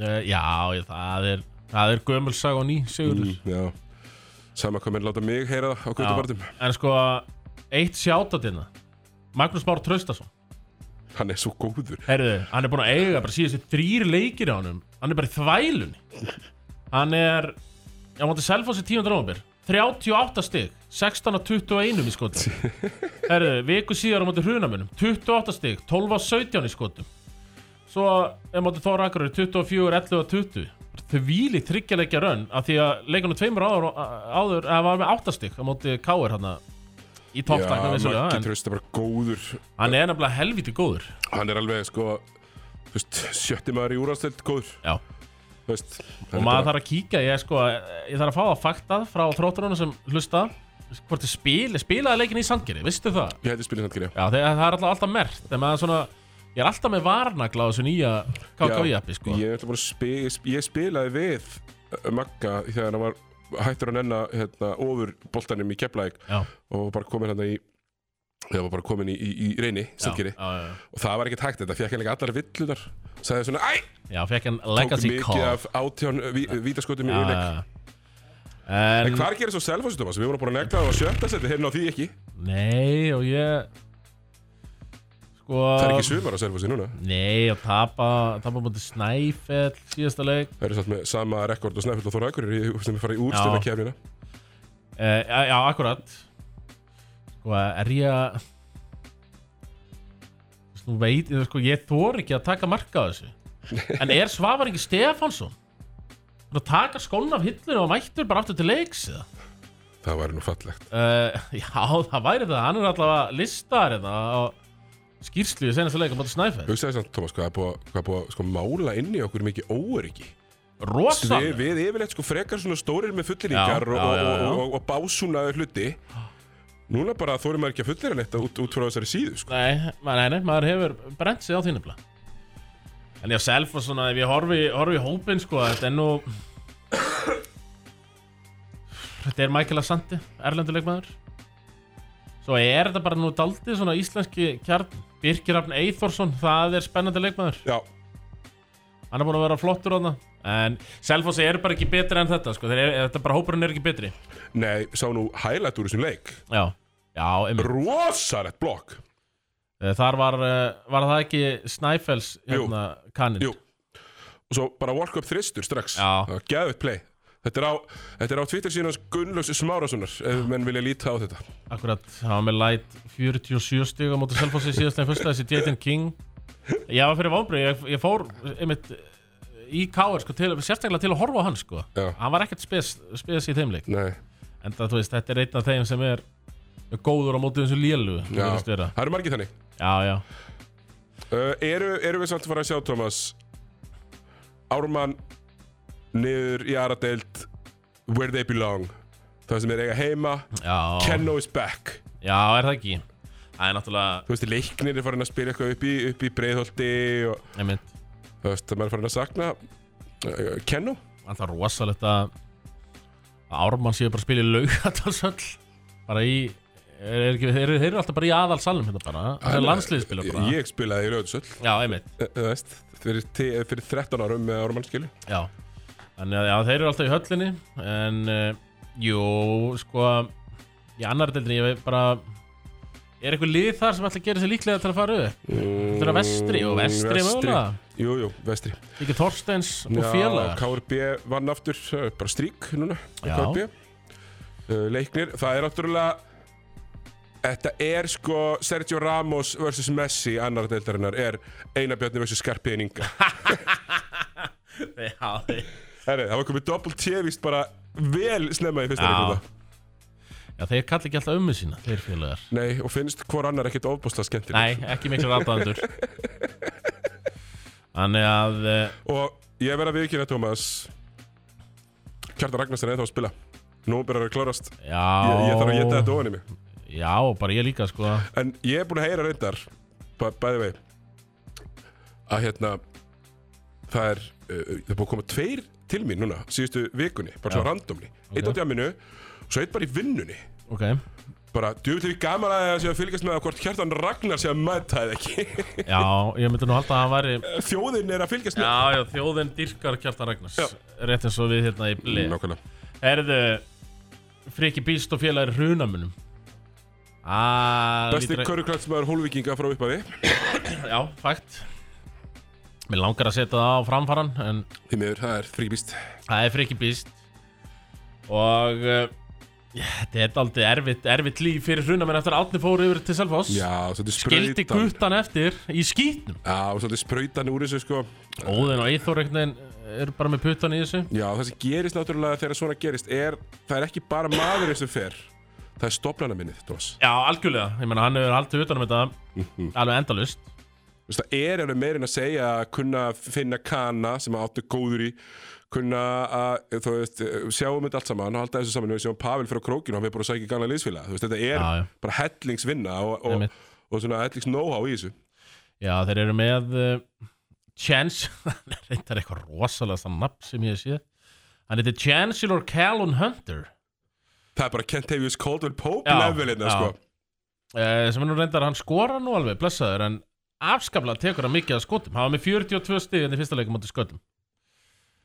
[SPEAKER 2] uh, Já, ég- það er Það er gömulsag og ný, Sigurður
[SPEAKER 1] Já Sama hvað menn láta mig heyra það á
[SPEAKER 2] Mm. Já,
[SPEAKER 1] kvöldabartum
[SPEAKER 2] En sko, eitt sjátt á þetta Magnús Már Traustason
[SPEAKER 1] Hann er svo góður
[SPEAKER 2] Herðu, hann er búin að eiga bara síðustu þrýr leikir á honum Hann er bara í þvælunni Hann er Já, mátti Selfossi 10. november 38 stig, 16 að 21 í skotum Herðu, viku síðar á mátti Hrunamunum, 28 stig 12 að 17 í skotum Svo er mátti Þóra Akurur 24, 11 að 20 Þvíli þryggjarleikja rönn af því að leikunum tveimur áður, áður að var með 8 stig á mátti Káir hann í topptakna vissulega
[SPEAKER 1] Maggi
[SPEAKER 2] en
[SPEAKER 1] Tröst er bara góður
[SPEAKER 2] hann er nefnilega helviti góður
[SPEAKER 1] Hann er alveg sko Þú veist, sjötti maður í úrvarsdeild góður
[SPEAKER 2] Já
[SPEAKER 1] Þú veist,
[SPEAKER 2] og maður þarf að kíkja ég, sko, ég þarf að fá það faktað frá þrótturunum sem hlusta hvort þið spil, spilaði leikin í Sandgeri, veistu það?
[SPEAKER 1] Ég heiti Spilin Sandgeri
[SPEAKER 2] Já, þegar, það er alltaf, alltaf mert en maður svona, ég er alltaf með varnagla á þessu nýja KKV-appi sko.
[SPEAKER 1] Ég, er alltaf búinn að spi, ég sp- ég spilaði við uh, Magga þegar hann var hættur að nenna hérna, ofur boltanum í Keflæk
[SPEAKER 2] já,
[SPEAKER 1] og var bara komin hérna í það var bara komin í, í, í reyni
[SPEAKER 2] já, já,
[SPEAKER 1] Sandgeri
[SPEAKER 2] já,
[SPEAKER 1] og það var ekkert hægt þetta fekk hann líka allar villunar sagði svona æ
[SPEAKER 2] já, fekk hann
[SPEAKER 1] tók
[SPEAKER 2] legacy
[SPEAKER 1] mikið
[SPEAKER 2] call
[SPEAKER 1] af átján ví, vítaskotum í
[SPEAKER 2] Já,
[SPEAKER 1] auðleik
[SPEAKER 2] já, já.
[SPEAKER 1] En
[SPEAKER 2] en,
[SPEAKER 1] hvað gerir svo Selfossi Thomas? Við vorum bara að negla það á sjötta seti, hérna á því ekki
[SPEAKER 2] nei, og ég sko,
[SPEAKER 1] Það er ekki sumar á Selfossi núna
[SPEAKER 2] nei, að tapa tapa mútið Snæfell síðasta leik
[SPEAKER 1] Það eru satt með sama rekord og snæfell og þóra akkurir sem er farið í úrstöna kefnina
[SPEAKER 2] Uh, já, já, akkurat Sko, er ég að Þú veist, Nú veit, þú veist, sko, ég þor ekki að taka marka á þessu En er Svavar ekki Stefánsson? Hann að taka skóna af hillinu og mættur bara aftur til leiks eða?
[SPEAKER 1] Það væri nú fallegt
[SPEAKER 2] uh, Já, það væri það, hann er allavega listar eða á skýrslu í senastu leik á móti Snæfell
[SPEAKER 1] Hugsaði samt, Thomas, hvað er búið, að- hvað er búið að sko, mála inn í okkur mikið óöryggi
[SPEAKER 2] Rosa
[SPEAKER 1] við, við yfirleitt sko frekar svona stórir með fulliringar
[SPEAKER 2] Já,
[SPEAKER 1] og,
[SPEAKER 2] já,
[SPEAKER 1] og,
[SPEAKER 2] já, já.
[SPEAKER 1] og, og, og básúnaður hluti Núna bara þóri maður ekki að fullera neitt út, út frá þessari síðu sko.
[SPEAKER 2] Nei, ma- nei, nei, maður hefur brent sig á því nefnilega En já, self og svona, ef ég horfi, horfi í hópin, sko, þetta er nú Þetta er Michael Asante, erlenduleikmaður Svo er þetta bara nú daldið svona íslenski kjarn Birkir Rafn Eithórsson, það er spennandi leikmaður
[SPEAKER 1] Já,
[SPEAKER 2] Hann er búin að vera flottur á það En Selfoss er bara ekki betri en þetta sko. Þeir er, Þetta bara hópurinn er ekki betri
[SPEAKER 1] nei, sá nú highlight úr þessum leik
[SPEAKER 2] Já, já, einmitt
[SPEAKER 1] Rosalett blokk
[SPEAKER 2] Þar var, eh, var það ekki Snæfells
[SPEAKER 1] Jú.
[SPEAKER 2] hérna, kaninn
[SPEAKER 1] Jú. Og svo bara walk up þristur strax
[SPEAKER 2] Já.
[SPEAKER 1] Gæðið play Þetta er á, þetta er á Twitter síðan Gunnlaus Smárasonar ef menn vilja líta á þetta
[SPEAKER 2] Akkurat, hann var með light 47 stig á móti Selfossi síðastlega fyrsta þessi Jaden King Ég var fyrir vonbrið, ég, ég fór einmitt í Káar sko, til, sérstaklega til að horfa á hann sko.
[SPEAKER 1] Já.
[SPEAKER 2] hann var ekkert spes, spes í þeim leik
[SPEAKER 1] Nei,
[SPEAKER 2] en það, þú veist, þetta er einn af þeim sem er góður á móti þessu lélu
[SPEAKER 1] já,
[SPEAKER 2] já,
[SPEAKER 1] það eru margið þannig
[SPEAKER 2] já,
[SPEAKER 1] Eh, Uh, eru, eru við samt að fara að sjá, Thomas Ármann niður í aðra deild where they belong það sem er eiga heima
[SPEAKER 2] Já,
[SPEAKER 1] Kenno is back
[SPEAKER 2] já, er það ekki Það er náttúrulega,
[SPEAKER 1] þú veist, leiknir er farin að spila eitthvað upp í, upp í breiðholti og
[SPEAKER 2] einmitt
[SPEAKER 1] þú veist, maður er farin að sakna uh, Kenno
[SPEAKER 2] Það er rosalegt að að Ármann séu bara að spila í laugatalsöll bara í er, er, ekki- þeir, þeir eru alltaf bara í aðalsalum hérna bara, það er landsliðspila bara
[SPEAKER 1] Ég spilaði í Rauðsöll,
[SPEAKER 2] Já, einmitt,
[SPEAKER 1] þú veist, fyrir, ti- fyrir 13 árum með Ármannskilu
[SPEAKER 2] já Þannig að já, þeir eru alltaf í höllinni en, uh, jú, sko í annar deildinni, ég veit bara er eitthvað lið þar sem ætla að gera sér líklega til að fara upp?
[SPEAKER 1] mm,
[SPEAKER 2] Þetta er vestri, jú, vestri mögulega.
[SPEAKER 1] Jú, jú, vestri
[SPEAKER 2] Ekki Þorsteins og félagar
[SPEAKER 1] KRB vann aftur, uh, bara strík núna
[SPEAKER 2] Já.
[SPEAKER 1] KRB uh, Leiknir, það er náttúrulega Þetta er sko Sergio Ramos vs. Messi annar deildarinnar er Einar Bjarni vs. Skarpiðin Inga
[SPEAKER 2] Já, þeir
[SPEAKER 1] Herri, það var komið doppelt tjevist bara vel snemma í fyrsta
[SPEAKER 2] Já.
[SPEAKER 1] leikum
[SPEAKER 2] Já, þeir kalla ekki alltaf ömmu sína, þeir félagar
[SPEAKER 1] Nei, og finnst hvor annar ekkit ofbúslega skemmtileg
[SPEAKER 2] Nei, ekki miklu rataðandur Þannig að eh,
[SPEAKER 1] Og ég verð að viðkynna, Tómas Kjartan Ragnarsen er ennþá að spila Nú byrjar að klárast ég,
[SPEAKER 2] Já
[SPEAKER 1] ég þarf að geta þetta ofan í mig
[SPEAKER 2] Já, bara ég líka sko
[SPEAKER 1] En ég er búin að heyra reyndar bæ- Bæði vei Að hérna Það er, uh, það er búin að koma tveir til mín núna Síðustu vikunni, bara svona randomni Eitt á djáminu, svo eitt bara í vinnunni
[SPEAKER 2] Ok
[SPEAKER 1] Bara, djúvill við gaman að það sé að fylgjast með að hvort Kjartan Ragnar sé að mæta eða ekki
[SPEAKER 2] Já, ég myndi nú halda að hann væri
[SPEAKER 1] Þjóðin er að fylgjast með
[SPEAKER 2] Já, já, þjóðin dýrkar Kjartan Ragnars
[SPEAKER 1] Já.
[SPEAKER 2] Rétt eins og við hérna í bli
[SPEAKER 1] Nákvæmlega
[SPEAKER 2] Erðu Friki Bíst og félagir hrunamunum Á,
[SPEAKER 1] Besti
[SPEAKER 2] lítur-
[SPEAKER 1] köruklætsmaður hólvikinga frá upphafi
[SPEAKER 2] Já, fakt Mér langar að setja það á framfaran En
[SPEAKER 1] Því miður, það er fríbýst
[SPEAKER 2] Það er frikki býst Og uh, já, Þetta er aldrei erfitt, erfitt líf fyrir hruna menn eftir að Átni fór yfir til Selfoss
[SPEAKER 1] Já, svolítið
[SPEAKER 2] Gildi
[SPEAKER 1] sprautan
[SPEAKER 2] guttan eftir í skýtnum
[SPEAKER 1] Já, svolítið sprautan úr þessu sko
[SPEAKER 2] Óðinn og Eithor veginn eh, eru bara með puttan í þessu
[SPEAKER 1] Já, það sem gerist náttúrulega þegar svona gerist er Það er ekki bara maðurinn sem fer Það er stopnana minnið, Dós
[SPEAKER 2] Já, algjörlega, ég meina hann hefur haldið utanum þetta Alveg endalust
[SPEAKER 1] Það er alveg meirinn að segja að kunna að finna kana sem að áttu góður í kunna að, þú veist, sjáum þetta allt saman og halda þessu saman, við sjáum Pavel frá krókinu og hann er bara að sækja gana liðsfélag, þú veist, þetta er
[SPEAKER 2] Já, já.
[SPEAKER 1] bara hellingsvinna og,
[SPEAKER 2] Einmitt.
[SPEAKER 1] og, og svona hellingsknóhá í þessu
[SPEAKER 2] Já, þeir eru með uh, Chance Hann er reyndar eitthvað rosalega það nafn sem ég sé Hann heitir Chancellor Callum Hunter
[SPEAKER 1] Það er bara Kentavious Caldwell Pope
[SPEAKER 2] Já,
[SPEAKER 1] level hérna,
[SPEAKER 2] já.
[SPEAKER 1] sko.
[SPEAKER 2] Eh, sem er nú reyndar hann skora nú alveg blessaður en afskaplega tekur hann mikið að skotum hann var með 42 stig en í fyrsta leikum átti skotum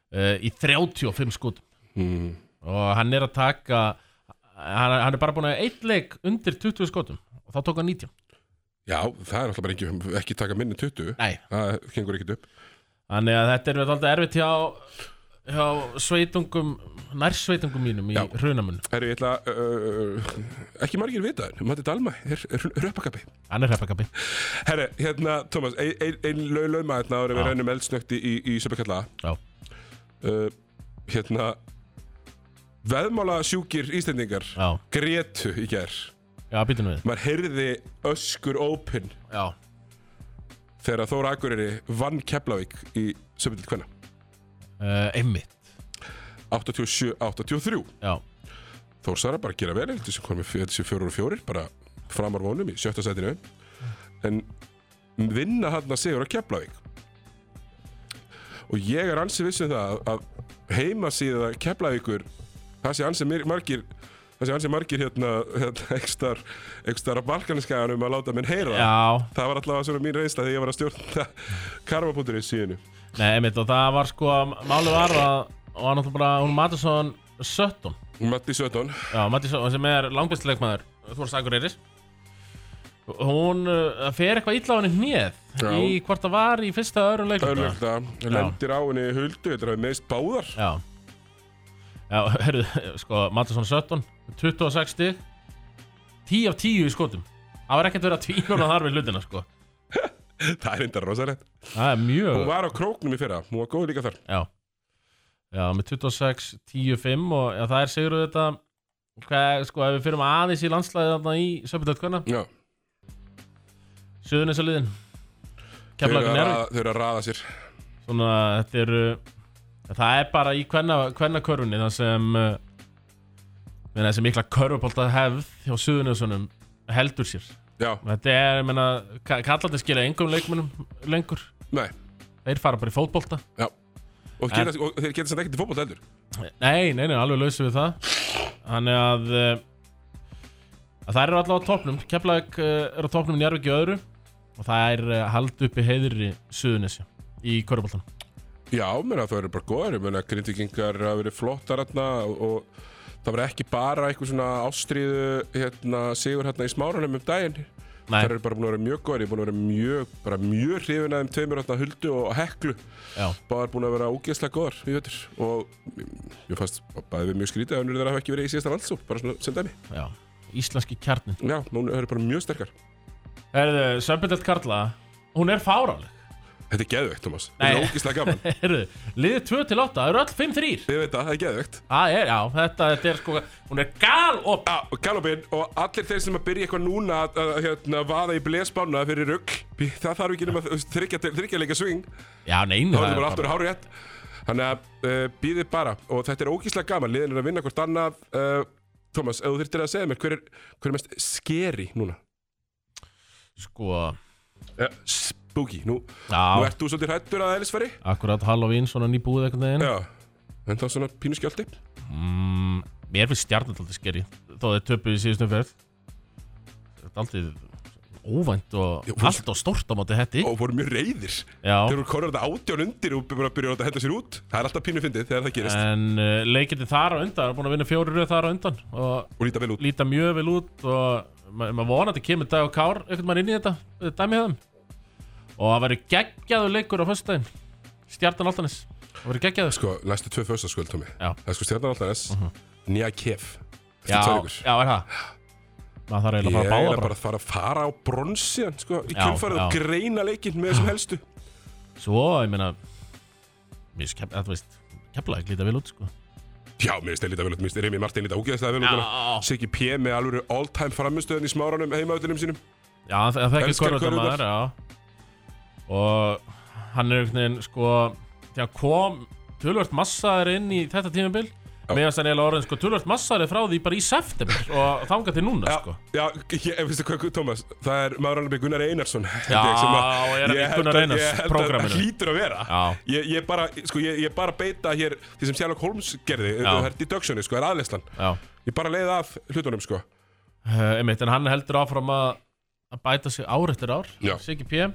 [SPEAKER 2] uh, í 35 skotum
[SPEAKER 1] Mm.
[SPEAKER 2] og hann er að taka hann, hann er bara búin að eitt leik undir 20 skotum og þá tók hann 19
[SPEAKER 1] Já, það er alltaf bara ekki, ekki taka minni 20.
[SPEAKER 2] Nei.
[SPEAKER 1] Það gengur ekkert upp.
[SPEAKER 2] þannig að þetta er vel alltaf erfitt hjá, hjá sveitungum nærsveitungum mínum í
[SPEAKER 1] Já.
[SPEAKER 2] hrunamun
[SPEAKER 1] Herru, ég ætla að, uh, ekki margir vita það, Matti Dalma er, er röpakabbi.
[SPEAKER 2] hann er hreppakabbi
[SPEAKER 1] Herru, hérna, Thomas, ein, ein, ein lög lögma hérna áður en við
[SPEAKER 2] Já.
[SPEAKER 1] rennum eldsnögt í, í, í söpakalla.
[SPEAKER 2] Já.
[SPEAKER 1] Uh, hérna, veðmála sjúkir Íslendingar
[SPEAKER 2] Já,
[SPEAKER 1] grétu í gær.
[SPEAKER 2] já, býtum við
[SPEAKER 1] Maður heyrði öskur open
[SPEAKER 2] Já,
[SPEAKER 1] þegar Þóra Akureyri vann Keflavík í söpakalla hvenna.
[SPEAKER 2] uh, einmitt
[SPEAKER 1] 87-83.
[SPEAKER 2] Já,
[SPEAKER 1] Þór Sara bara að gera vel eftir sem komið fyrir þessi fjórir og fjórir bara framar vonum í sjötta setinu en vinna hann að sigur að Keflavík og ég er ansi vissum það að heimasíða Keflavíkur það sé ansi mir- margir það sé ansi margir hérna, hérna ekstar, ekstar að balkaninskæðanum að láta minn heyra
[SPEAKER 2] já
[SPEAKER 1] það var allavega svona mín reynsla þegar ég var að stjórna karma.ri síðinu
[SPEAKER 2] Nei, einmitt, og það var sko, málið var að og hann náttúrulega bara, hún Mattisson 17,
[SPEAKER 1] Matti 17
[SPEAKER 2] já, Mattisson sem er langbestilegmaður, þú voru sagur eiris hún uh, fer eitthvað illa á henni hnið
[SPEAKER 1] Já.
[SPEAKER 2] í hvort það var í fyrsta öru leikum
[SPEAKER 1] öllugta lendir á henni huldu þetta er meðist báðar
[SPEAKER 2] Já, já, hörðu, sko, Mattisson 17 26 stig 10 af 10 í skotum það var ekkert verið að tvíkona þar við hlutina, sko
[SPEAKER 1] það er enda rosalegt
[SPEAKER 2] það er
[SPEAKER 1] Hún
[SPEAKER 2] mjög,
[SPEAKER 1] var á króknum í fyrra, hún var góð líka þar
[SPEAKER 2] já já, með 26, 10, 5 og já, það er sigurðu þetta hvað, sko, ef við fyrir aðeins í landslæðið þarna í Söpildöldkvæna,
[SPEAKER 1] Já,
[SPEAKER 2] söðunins að liðin
[SPEAKER 1] þau eru
[SPEAKER 2] Keflavík
[SPEAKER 1] að
[SPEAKER 2] og Njárvík
[SPEAKER 1] raða- þau eru að raða sér
[SPEAKER 2] svona, þetta eru En Það er bara í hvenna körfunni þar sem uh, meina, þessi mikla körfupolta hefð hjá Suðunjósunum heldur sér
[SPEAKER 1] Já,
[SPEAKER 2] Þetta er, ég meina, ka- kallandi skilja engum leikmunum lengur
[SPEAKER 1] nei,
[SPEAKER 2] Þeir fara bara í fótbolta
[SPEAKER 1] já Og, gera, og þeir geta sem ekkert í fótbolt heldur
[SPEAKER 2] Nei, nei, nei, alveg lausu við það Þannig að, uh, að það eru allavega á topnum Keflag uh, er á topnum njárviki öðru og það er uh, hald uppi heiðri Suðunesju í körfuboltanum
[SPEAKER 1] Já, mér að það eru bara góðar Ég meina, grindvikingar hafa verið flottar hérna og, og það var ekki bara eitthvað svona ástríðu hérna, sigur hérna í smáranum um daginn
[SPEAKER 2] Nei.
[SPEAKER 1] Það eru bara búin að vera mjög góðar Ég er búin að vera mjög, bara mjög hrifin að þeim tveimur hérna huldu og heklu
[SPEAKER 2] Já,
[SPEAKER 1] Báðar búin að vera ógeðslega góðar í vettur Og ég fannst bæði við mjög skrítið að önnur þeirra hafa ekki verið í síðasta landsók Bara svona sem dæmi
[SPEAKER 2] já, íslenski kjarnin
[SPEAKER 1] Já, núna eru bara mjög sterkar
[SPEAKER 2] Herðu, Sömbindelt Karla Hún er fáráleg
[SPEAKER 1] Þetta er geðveikt, Thomas Þetta
[SPEAKER 2] Nei.
[SPEAKER 1] er ógeðslega gaman
[SPEAKER 2] Herðu, liðið 2 til 8 Það eru öll 5-3
[SPEAKER 1] Ég veit það, það er geðveikt
[SPEAKER 2] Það er, já, þetta, þetta er sko Hún er gal og
[SPEAKER 1] Já, og Galopin og allir þeir sem að byrja eitthvað núna að, að, að hérna, vaða í blesbána fyrir rugg það þarf ekki nema að þryggja, þryggja leika sving þá
[SPEAKER 2] Já, nein
[SPEAKER 1] er þetta bara aftur hárið rétt þannig að uh, býðið bara og þetta er ógíslega gaman, liðin er að vinna hvort annað uh, Thomas, ef þú þurftir að segja mér hver er, hver er mest skeri núna
[SPEAKER 2] Sko,
[SPEAKER 1] uh, spooky, nú, nú
[SPEAKER 2] já,
[SPEAKER 1] ert þú svolítið hrættur að eðlisfæri
[SPEAKER 2] akkurat Halloween Svona nýbúið einhvern veginn
[SPEAKER 1] já, en þá svona pínu skjöldi
[SPEAKER 2] mm, Mér finnst stjarnaldaldi skeri Þó þeir töpu í síðustum ferð Þetta er aldrei óvænt og
[SPEAKER 1] Já, hún-
[SPEAKER 2] allt og stórt á móti hetti
[SPEAKER 1] og voru mjög reyðir
[SPEAKER 2] Já,
[SPEAKER 1] þegar þú korður þetta átján undir og bara byrjar að henda sér út það er alltaf pínu fyndið þegar það gerist
[SPEAKER 2] en uh, leikindi þar á undan er búin að vinna fjóri röð þar á undan og
[SPEAKER 1] og líta vel út
[SPEAKER 2] líta mjög vel út og ma- maður vonandi kemur dag og kár einhvern veginn inn í þetta, eh, dæmi hefðum og það verður geggjaður leikur á föstudaginn, stjartan Altanis það verður geggjaður
[SPEAKER 1] Sko, næstu tvö föstaskvöld, Tómi
[SPEAKER 2] Já. Mhm.
[SPEAKER 1] Það er sko stjarnan alltaf þess uh Nýja kef Eftir
[SPEAKER 2] já,
[SPEAKER 1] tvær vikur.
[SPEAKER 2] já, er það maður þarf
[SPEAKER 1] Ég er
[SPEAKER 2] eiginlega að fara að
[SPEAKER 1] eiginlega
[SPEAKER 2] báða
[SPEAKER 1] bara
[SPEAKER 2] bara.
[SPEAKER 1] að fara að fara á bronsiðan sko, Í
[SPEAKER 2] Já,
[SPEAKER 1] kjölfarið og
[SPEAKER 2] já.
[SPEAKER 1] greina leikinn með þessum helstu
[SPEAKER 2] svo, ég meina mér finnst kef, að, veist, keflaðið líta vel út sko.
[SPEAKER 1] Já, mér finnst þeir líta vel út Mér finnst Remi Martin líta ógeðslega vel út
[SPEAKER 2] Já.
[SPEAKER 1] núna. Siggi P með alveg all time framistöðin í smáranum heimauðunum sínum
[SPEAKER 2] já, það- það þekkir
[SPEAKER 1] Elskar
[SPEAKER 2] korrota maður já. og hann er einhvern veginn sko, þegar kom tölvört massaður inn í þetta tímabil
[SPEAKER 1] Já.
[SPEAKER 2] meðan þannig eiginlega orðin sko, tölvört massaður er frá því bara í september og þangað til núna sko.
[SPEAKER 1] Já, ég, ég finnst það hvað, Thomas Það er maður alveg Gunnar Einarsson
[SPEAKER 2] Já,
[SPEAKER 1] held ég, sem
[SPEAKER 2] er hann í
[SPEAKER 1] ég held
[SPEAKER 2] Gunnar
[SPEAKER 1] að-
[SPEAKER 2] Einars
[SPEAKER 1] ég held að-
[SPEAKER 2] prógramminu?
[SPEAKER 1] Það hlýtur að vera
[SPEAKER 2] Já.
[SPEAKER 1] Ég, ég, bara, sko, ég, ég bara beita hér Því sem Sherlock Holmes gerði Það er deductioni, sko, það er aðleslan
[SPEAKER 2] Já,
[SPEAKER 1] Ég bara leiði að hlutunum sko
[SPEAKER 2] uh, einmitt, en hann heldur áfram að, að bæta sig ár eftir ár
[SPEAKER 1] Já.
[SPEAKER 2] Siggi P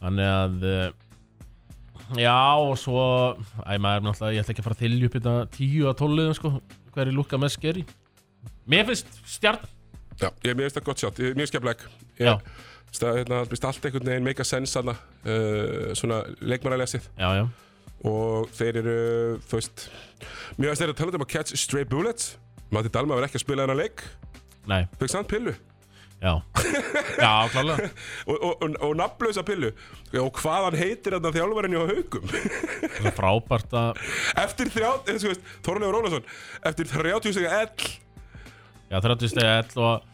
[SPEAKER 2] Þannig að uh, Já, og svo Æ, maður, náttúrulega, ég ætla ekki að fara að þylja upp þetta tíu að tóluðum, sko Hver er lúkka með skeri Mér finnst stjarn
[SPEAKER 1] Já, ég mér finnst það gott sjátt, ég mér skemmleg
[SPEAKER 2] Já,
[SPEAKER 1] Ég finnst það hérna, finnst allt einhvern veginn make a sense hana, uh, svona leikmaralesið
[SPEAKER 2] já, já,
[SPEAKER 1] og þeir eru, þú veist Mér finnst þeir eru að tala um að catch stray bullets Matti Dalma var ekki að spila hennar leik
[SPEAKER 2] nei,
[SPEAKER 1] fekk samt pillu
[SPEAKER 2] já Já, klálega
[SPEAKER 1] og, og, og, og nafnlausa pillu og hvað hann heitir þarna þjálfarinn hjá haugum
[SPEAKER 2] Svo frábært að
[SPEAKER 1] eftir þrjá, eh, þú veist, Þorleifur Rólasson eftir 30 segja ell
[SPEAKER 2] Já, 30 stegi ell og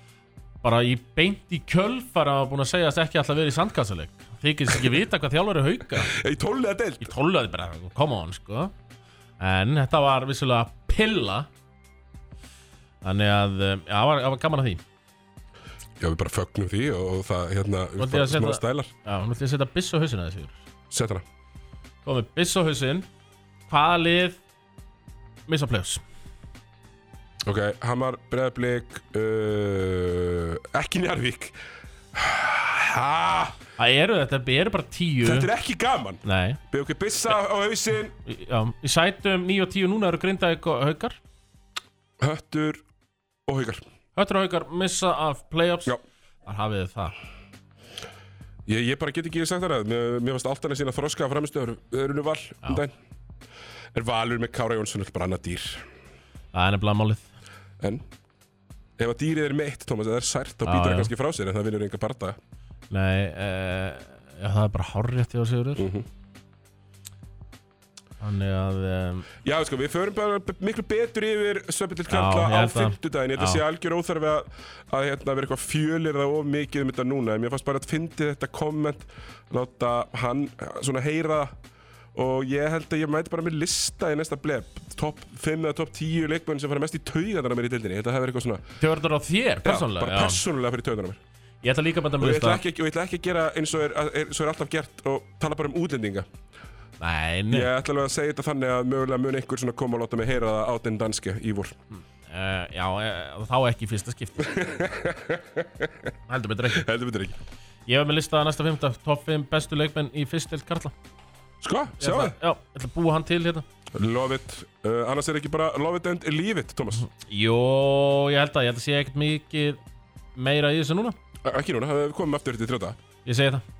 [SPEAKER 2] bara í beint í kjölfara að búin að segja að ekki alltaf verið í sandkassaleik Þykist ekki vita hvað þjálfur er hauka
[SPEAKER 1] í tónlega deild
[SPEAKER 2] ég tólaði bara, come on, sko en þetta var vissulega pilla þannig að, um, já, það var, það var gaman að því
[SPEAKER 1] Já, við bara fögnum því og það, hérna,
[SPEAKER 2] Vondi ég að
[SPEAKER 1] smá
[SPEAKER 2] setja-
[SPEAKER 1] stælar
[SPEAKER 2] já, nú ætlum ég að setja byss á hausinn að þessu
[SPEAKER 1] Sett hana
[SPEAKER 2] komið byss á hausinn hvaða lið missa play-offs
[SPEAKER 1] Ok, Hamar, Breiðablík, uh, ekki Njarvík. Ha,
[SPEAKER 2] það eru þetta, þetta eru bara tíu
[SPEAKER 1] þetta er ekki gaman.
[SPEAKER 2] nei,
[SPEAKER 1] Byggjum okkur byssa á hausinn,
[SPEAKER 2] í- já, í sætum 9 og 10 núna eru grindaðið haukar
[SPEAKER 1] höttur og haugar.
[SPEAKER 2] höttur og haukar missa af play-offs
[SPEAKER 1] Já.
[SPEAKER 2] þar hafið þið það
[SPEAKER 1] Ég, ég bara get ekki sagt það að mér, mér varst alltaf sína þroska að framistöður, Rúnu Val um daginn. Er Valur með Kára Jónsson alltaf bara annað dýr.
[SPEAKER 2] það er nefnilega málið
[SPEAKER 1] En ef að dýrið er meitt, Tómas, eða er sært, þá
[SPEAKER 2] Já,
[SPEAKER 1] býtur
[SPEAKER 2] já.
[SPEAKER 1] það kannski frá sér en það vinnur enga parta.
[SPEAKER 2] Nei, uh, já, það er bara hárrétt hjá Sigurður
[SPEAKER 1] Mhm.
[SPEAKER 2] Þannig að um,
[SPEAKER 1] Já, sko, við förum bara b- miklu betur yfir Söpindil
[SPEAKER 2] Já, ég
[SPEAKER 1] Kalla á
[SPEAKER 2] held að-
[SPEAKER 1] fimmtudaginn Ég held að
[SPEAKER 2] já.
[SPEAKER 1] sé algjör óþarfi að, að hérna, vera eitthvað fjölir það of mikið um þetta núna En mér fannst bara að fyndi þetta komment Láta hann eh, svona heyra það og ég held að ég mæti bara með lista í næsta bleb top 5 eða top 10 leikmenn sem fara mest í taugarnar á mér í dildinni ég held að það verði eitthvað svona
[SPEAKER 2] Tjóðurður á þér,
[SPEAKER 1] já,
[SPEAKER 2] persónlega
[SPEAKER 1] bara
[SPEAKER 2] já.
[SPEAKER 1] persónulega fyrir taugarnar á mér
[SPEAKER 2] Ég ætla líka að benda
[SPEAKER 1] og
[SPEAKER 2] með
[SPEAKER 1] ég ætla,
[SPEAKER 2] þetta
[SPEAKER 1] ekki, og ég ætla ekki að gera eins og er, er, svo er alltaf gert og tala bara um útlendinga
[SPEAKER 2] Nei, nei
[SPEAKER 1] ég ætla alveg að segja þetta þannig að mögulega mun einhver svona koma og láta mig heyra það á den danske í vor
[SPEAKER 2] Eh, Já, eh, þá ekki í fyrsta skipti Heldur betur ekki
[SPEAKER 1] heldur betur ekki
[SPEAKER 2] Ég hef með listaða næsta fymta Top 5 bestu leikmenn í fyrst til Karla
[SPEAKER 1] sko,
[SPEAKER 2] Ég ætla-
[SPEAKER 1] sjáðu
[SPEAKER 2] Já, ég ætla að búa hann til hérna
[SPEAKER 1] Love it uh, Annars er ekki bara love it and leave it, Thomas
[SPEAKER 2] Mhm. Jó, ég held að, ég held að sé ekkert mikið meira í þessu núna
[SPEAKER 1] Ekki núna, það komum aftur til þrjóta
[SPEAKER 2] Ég segi það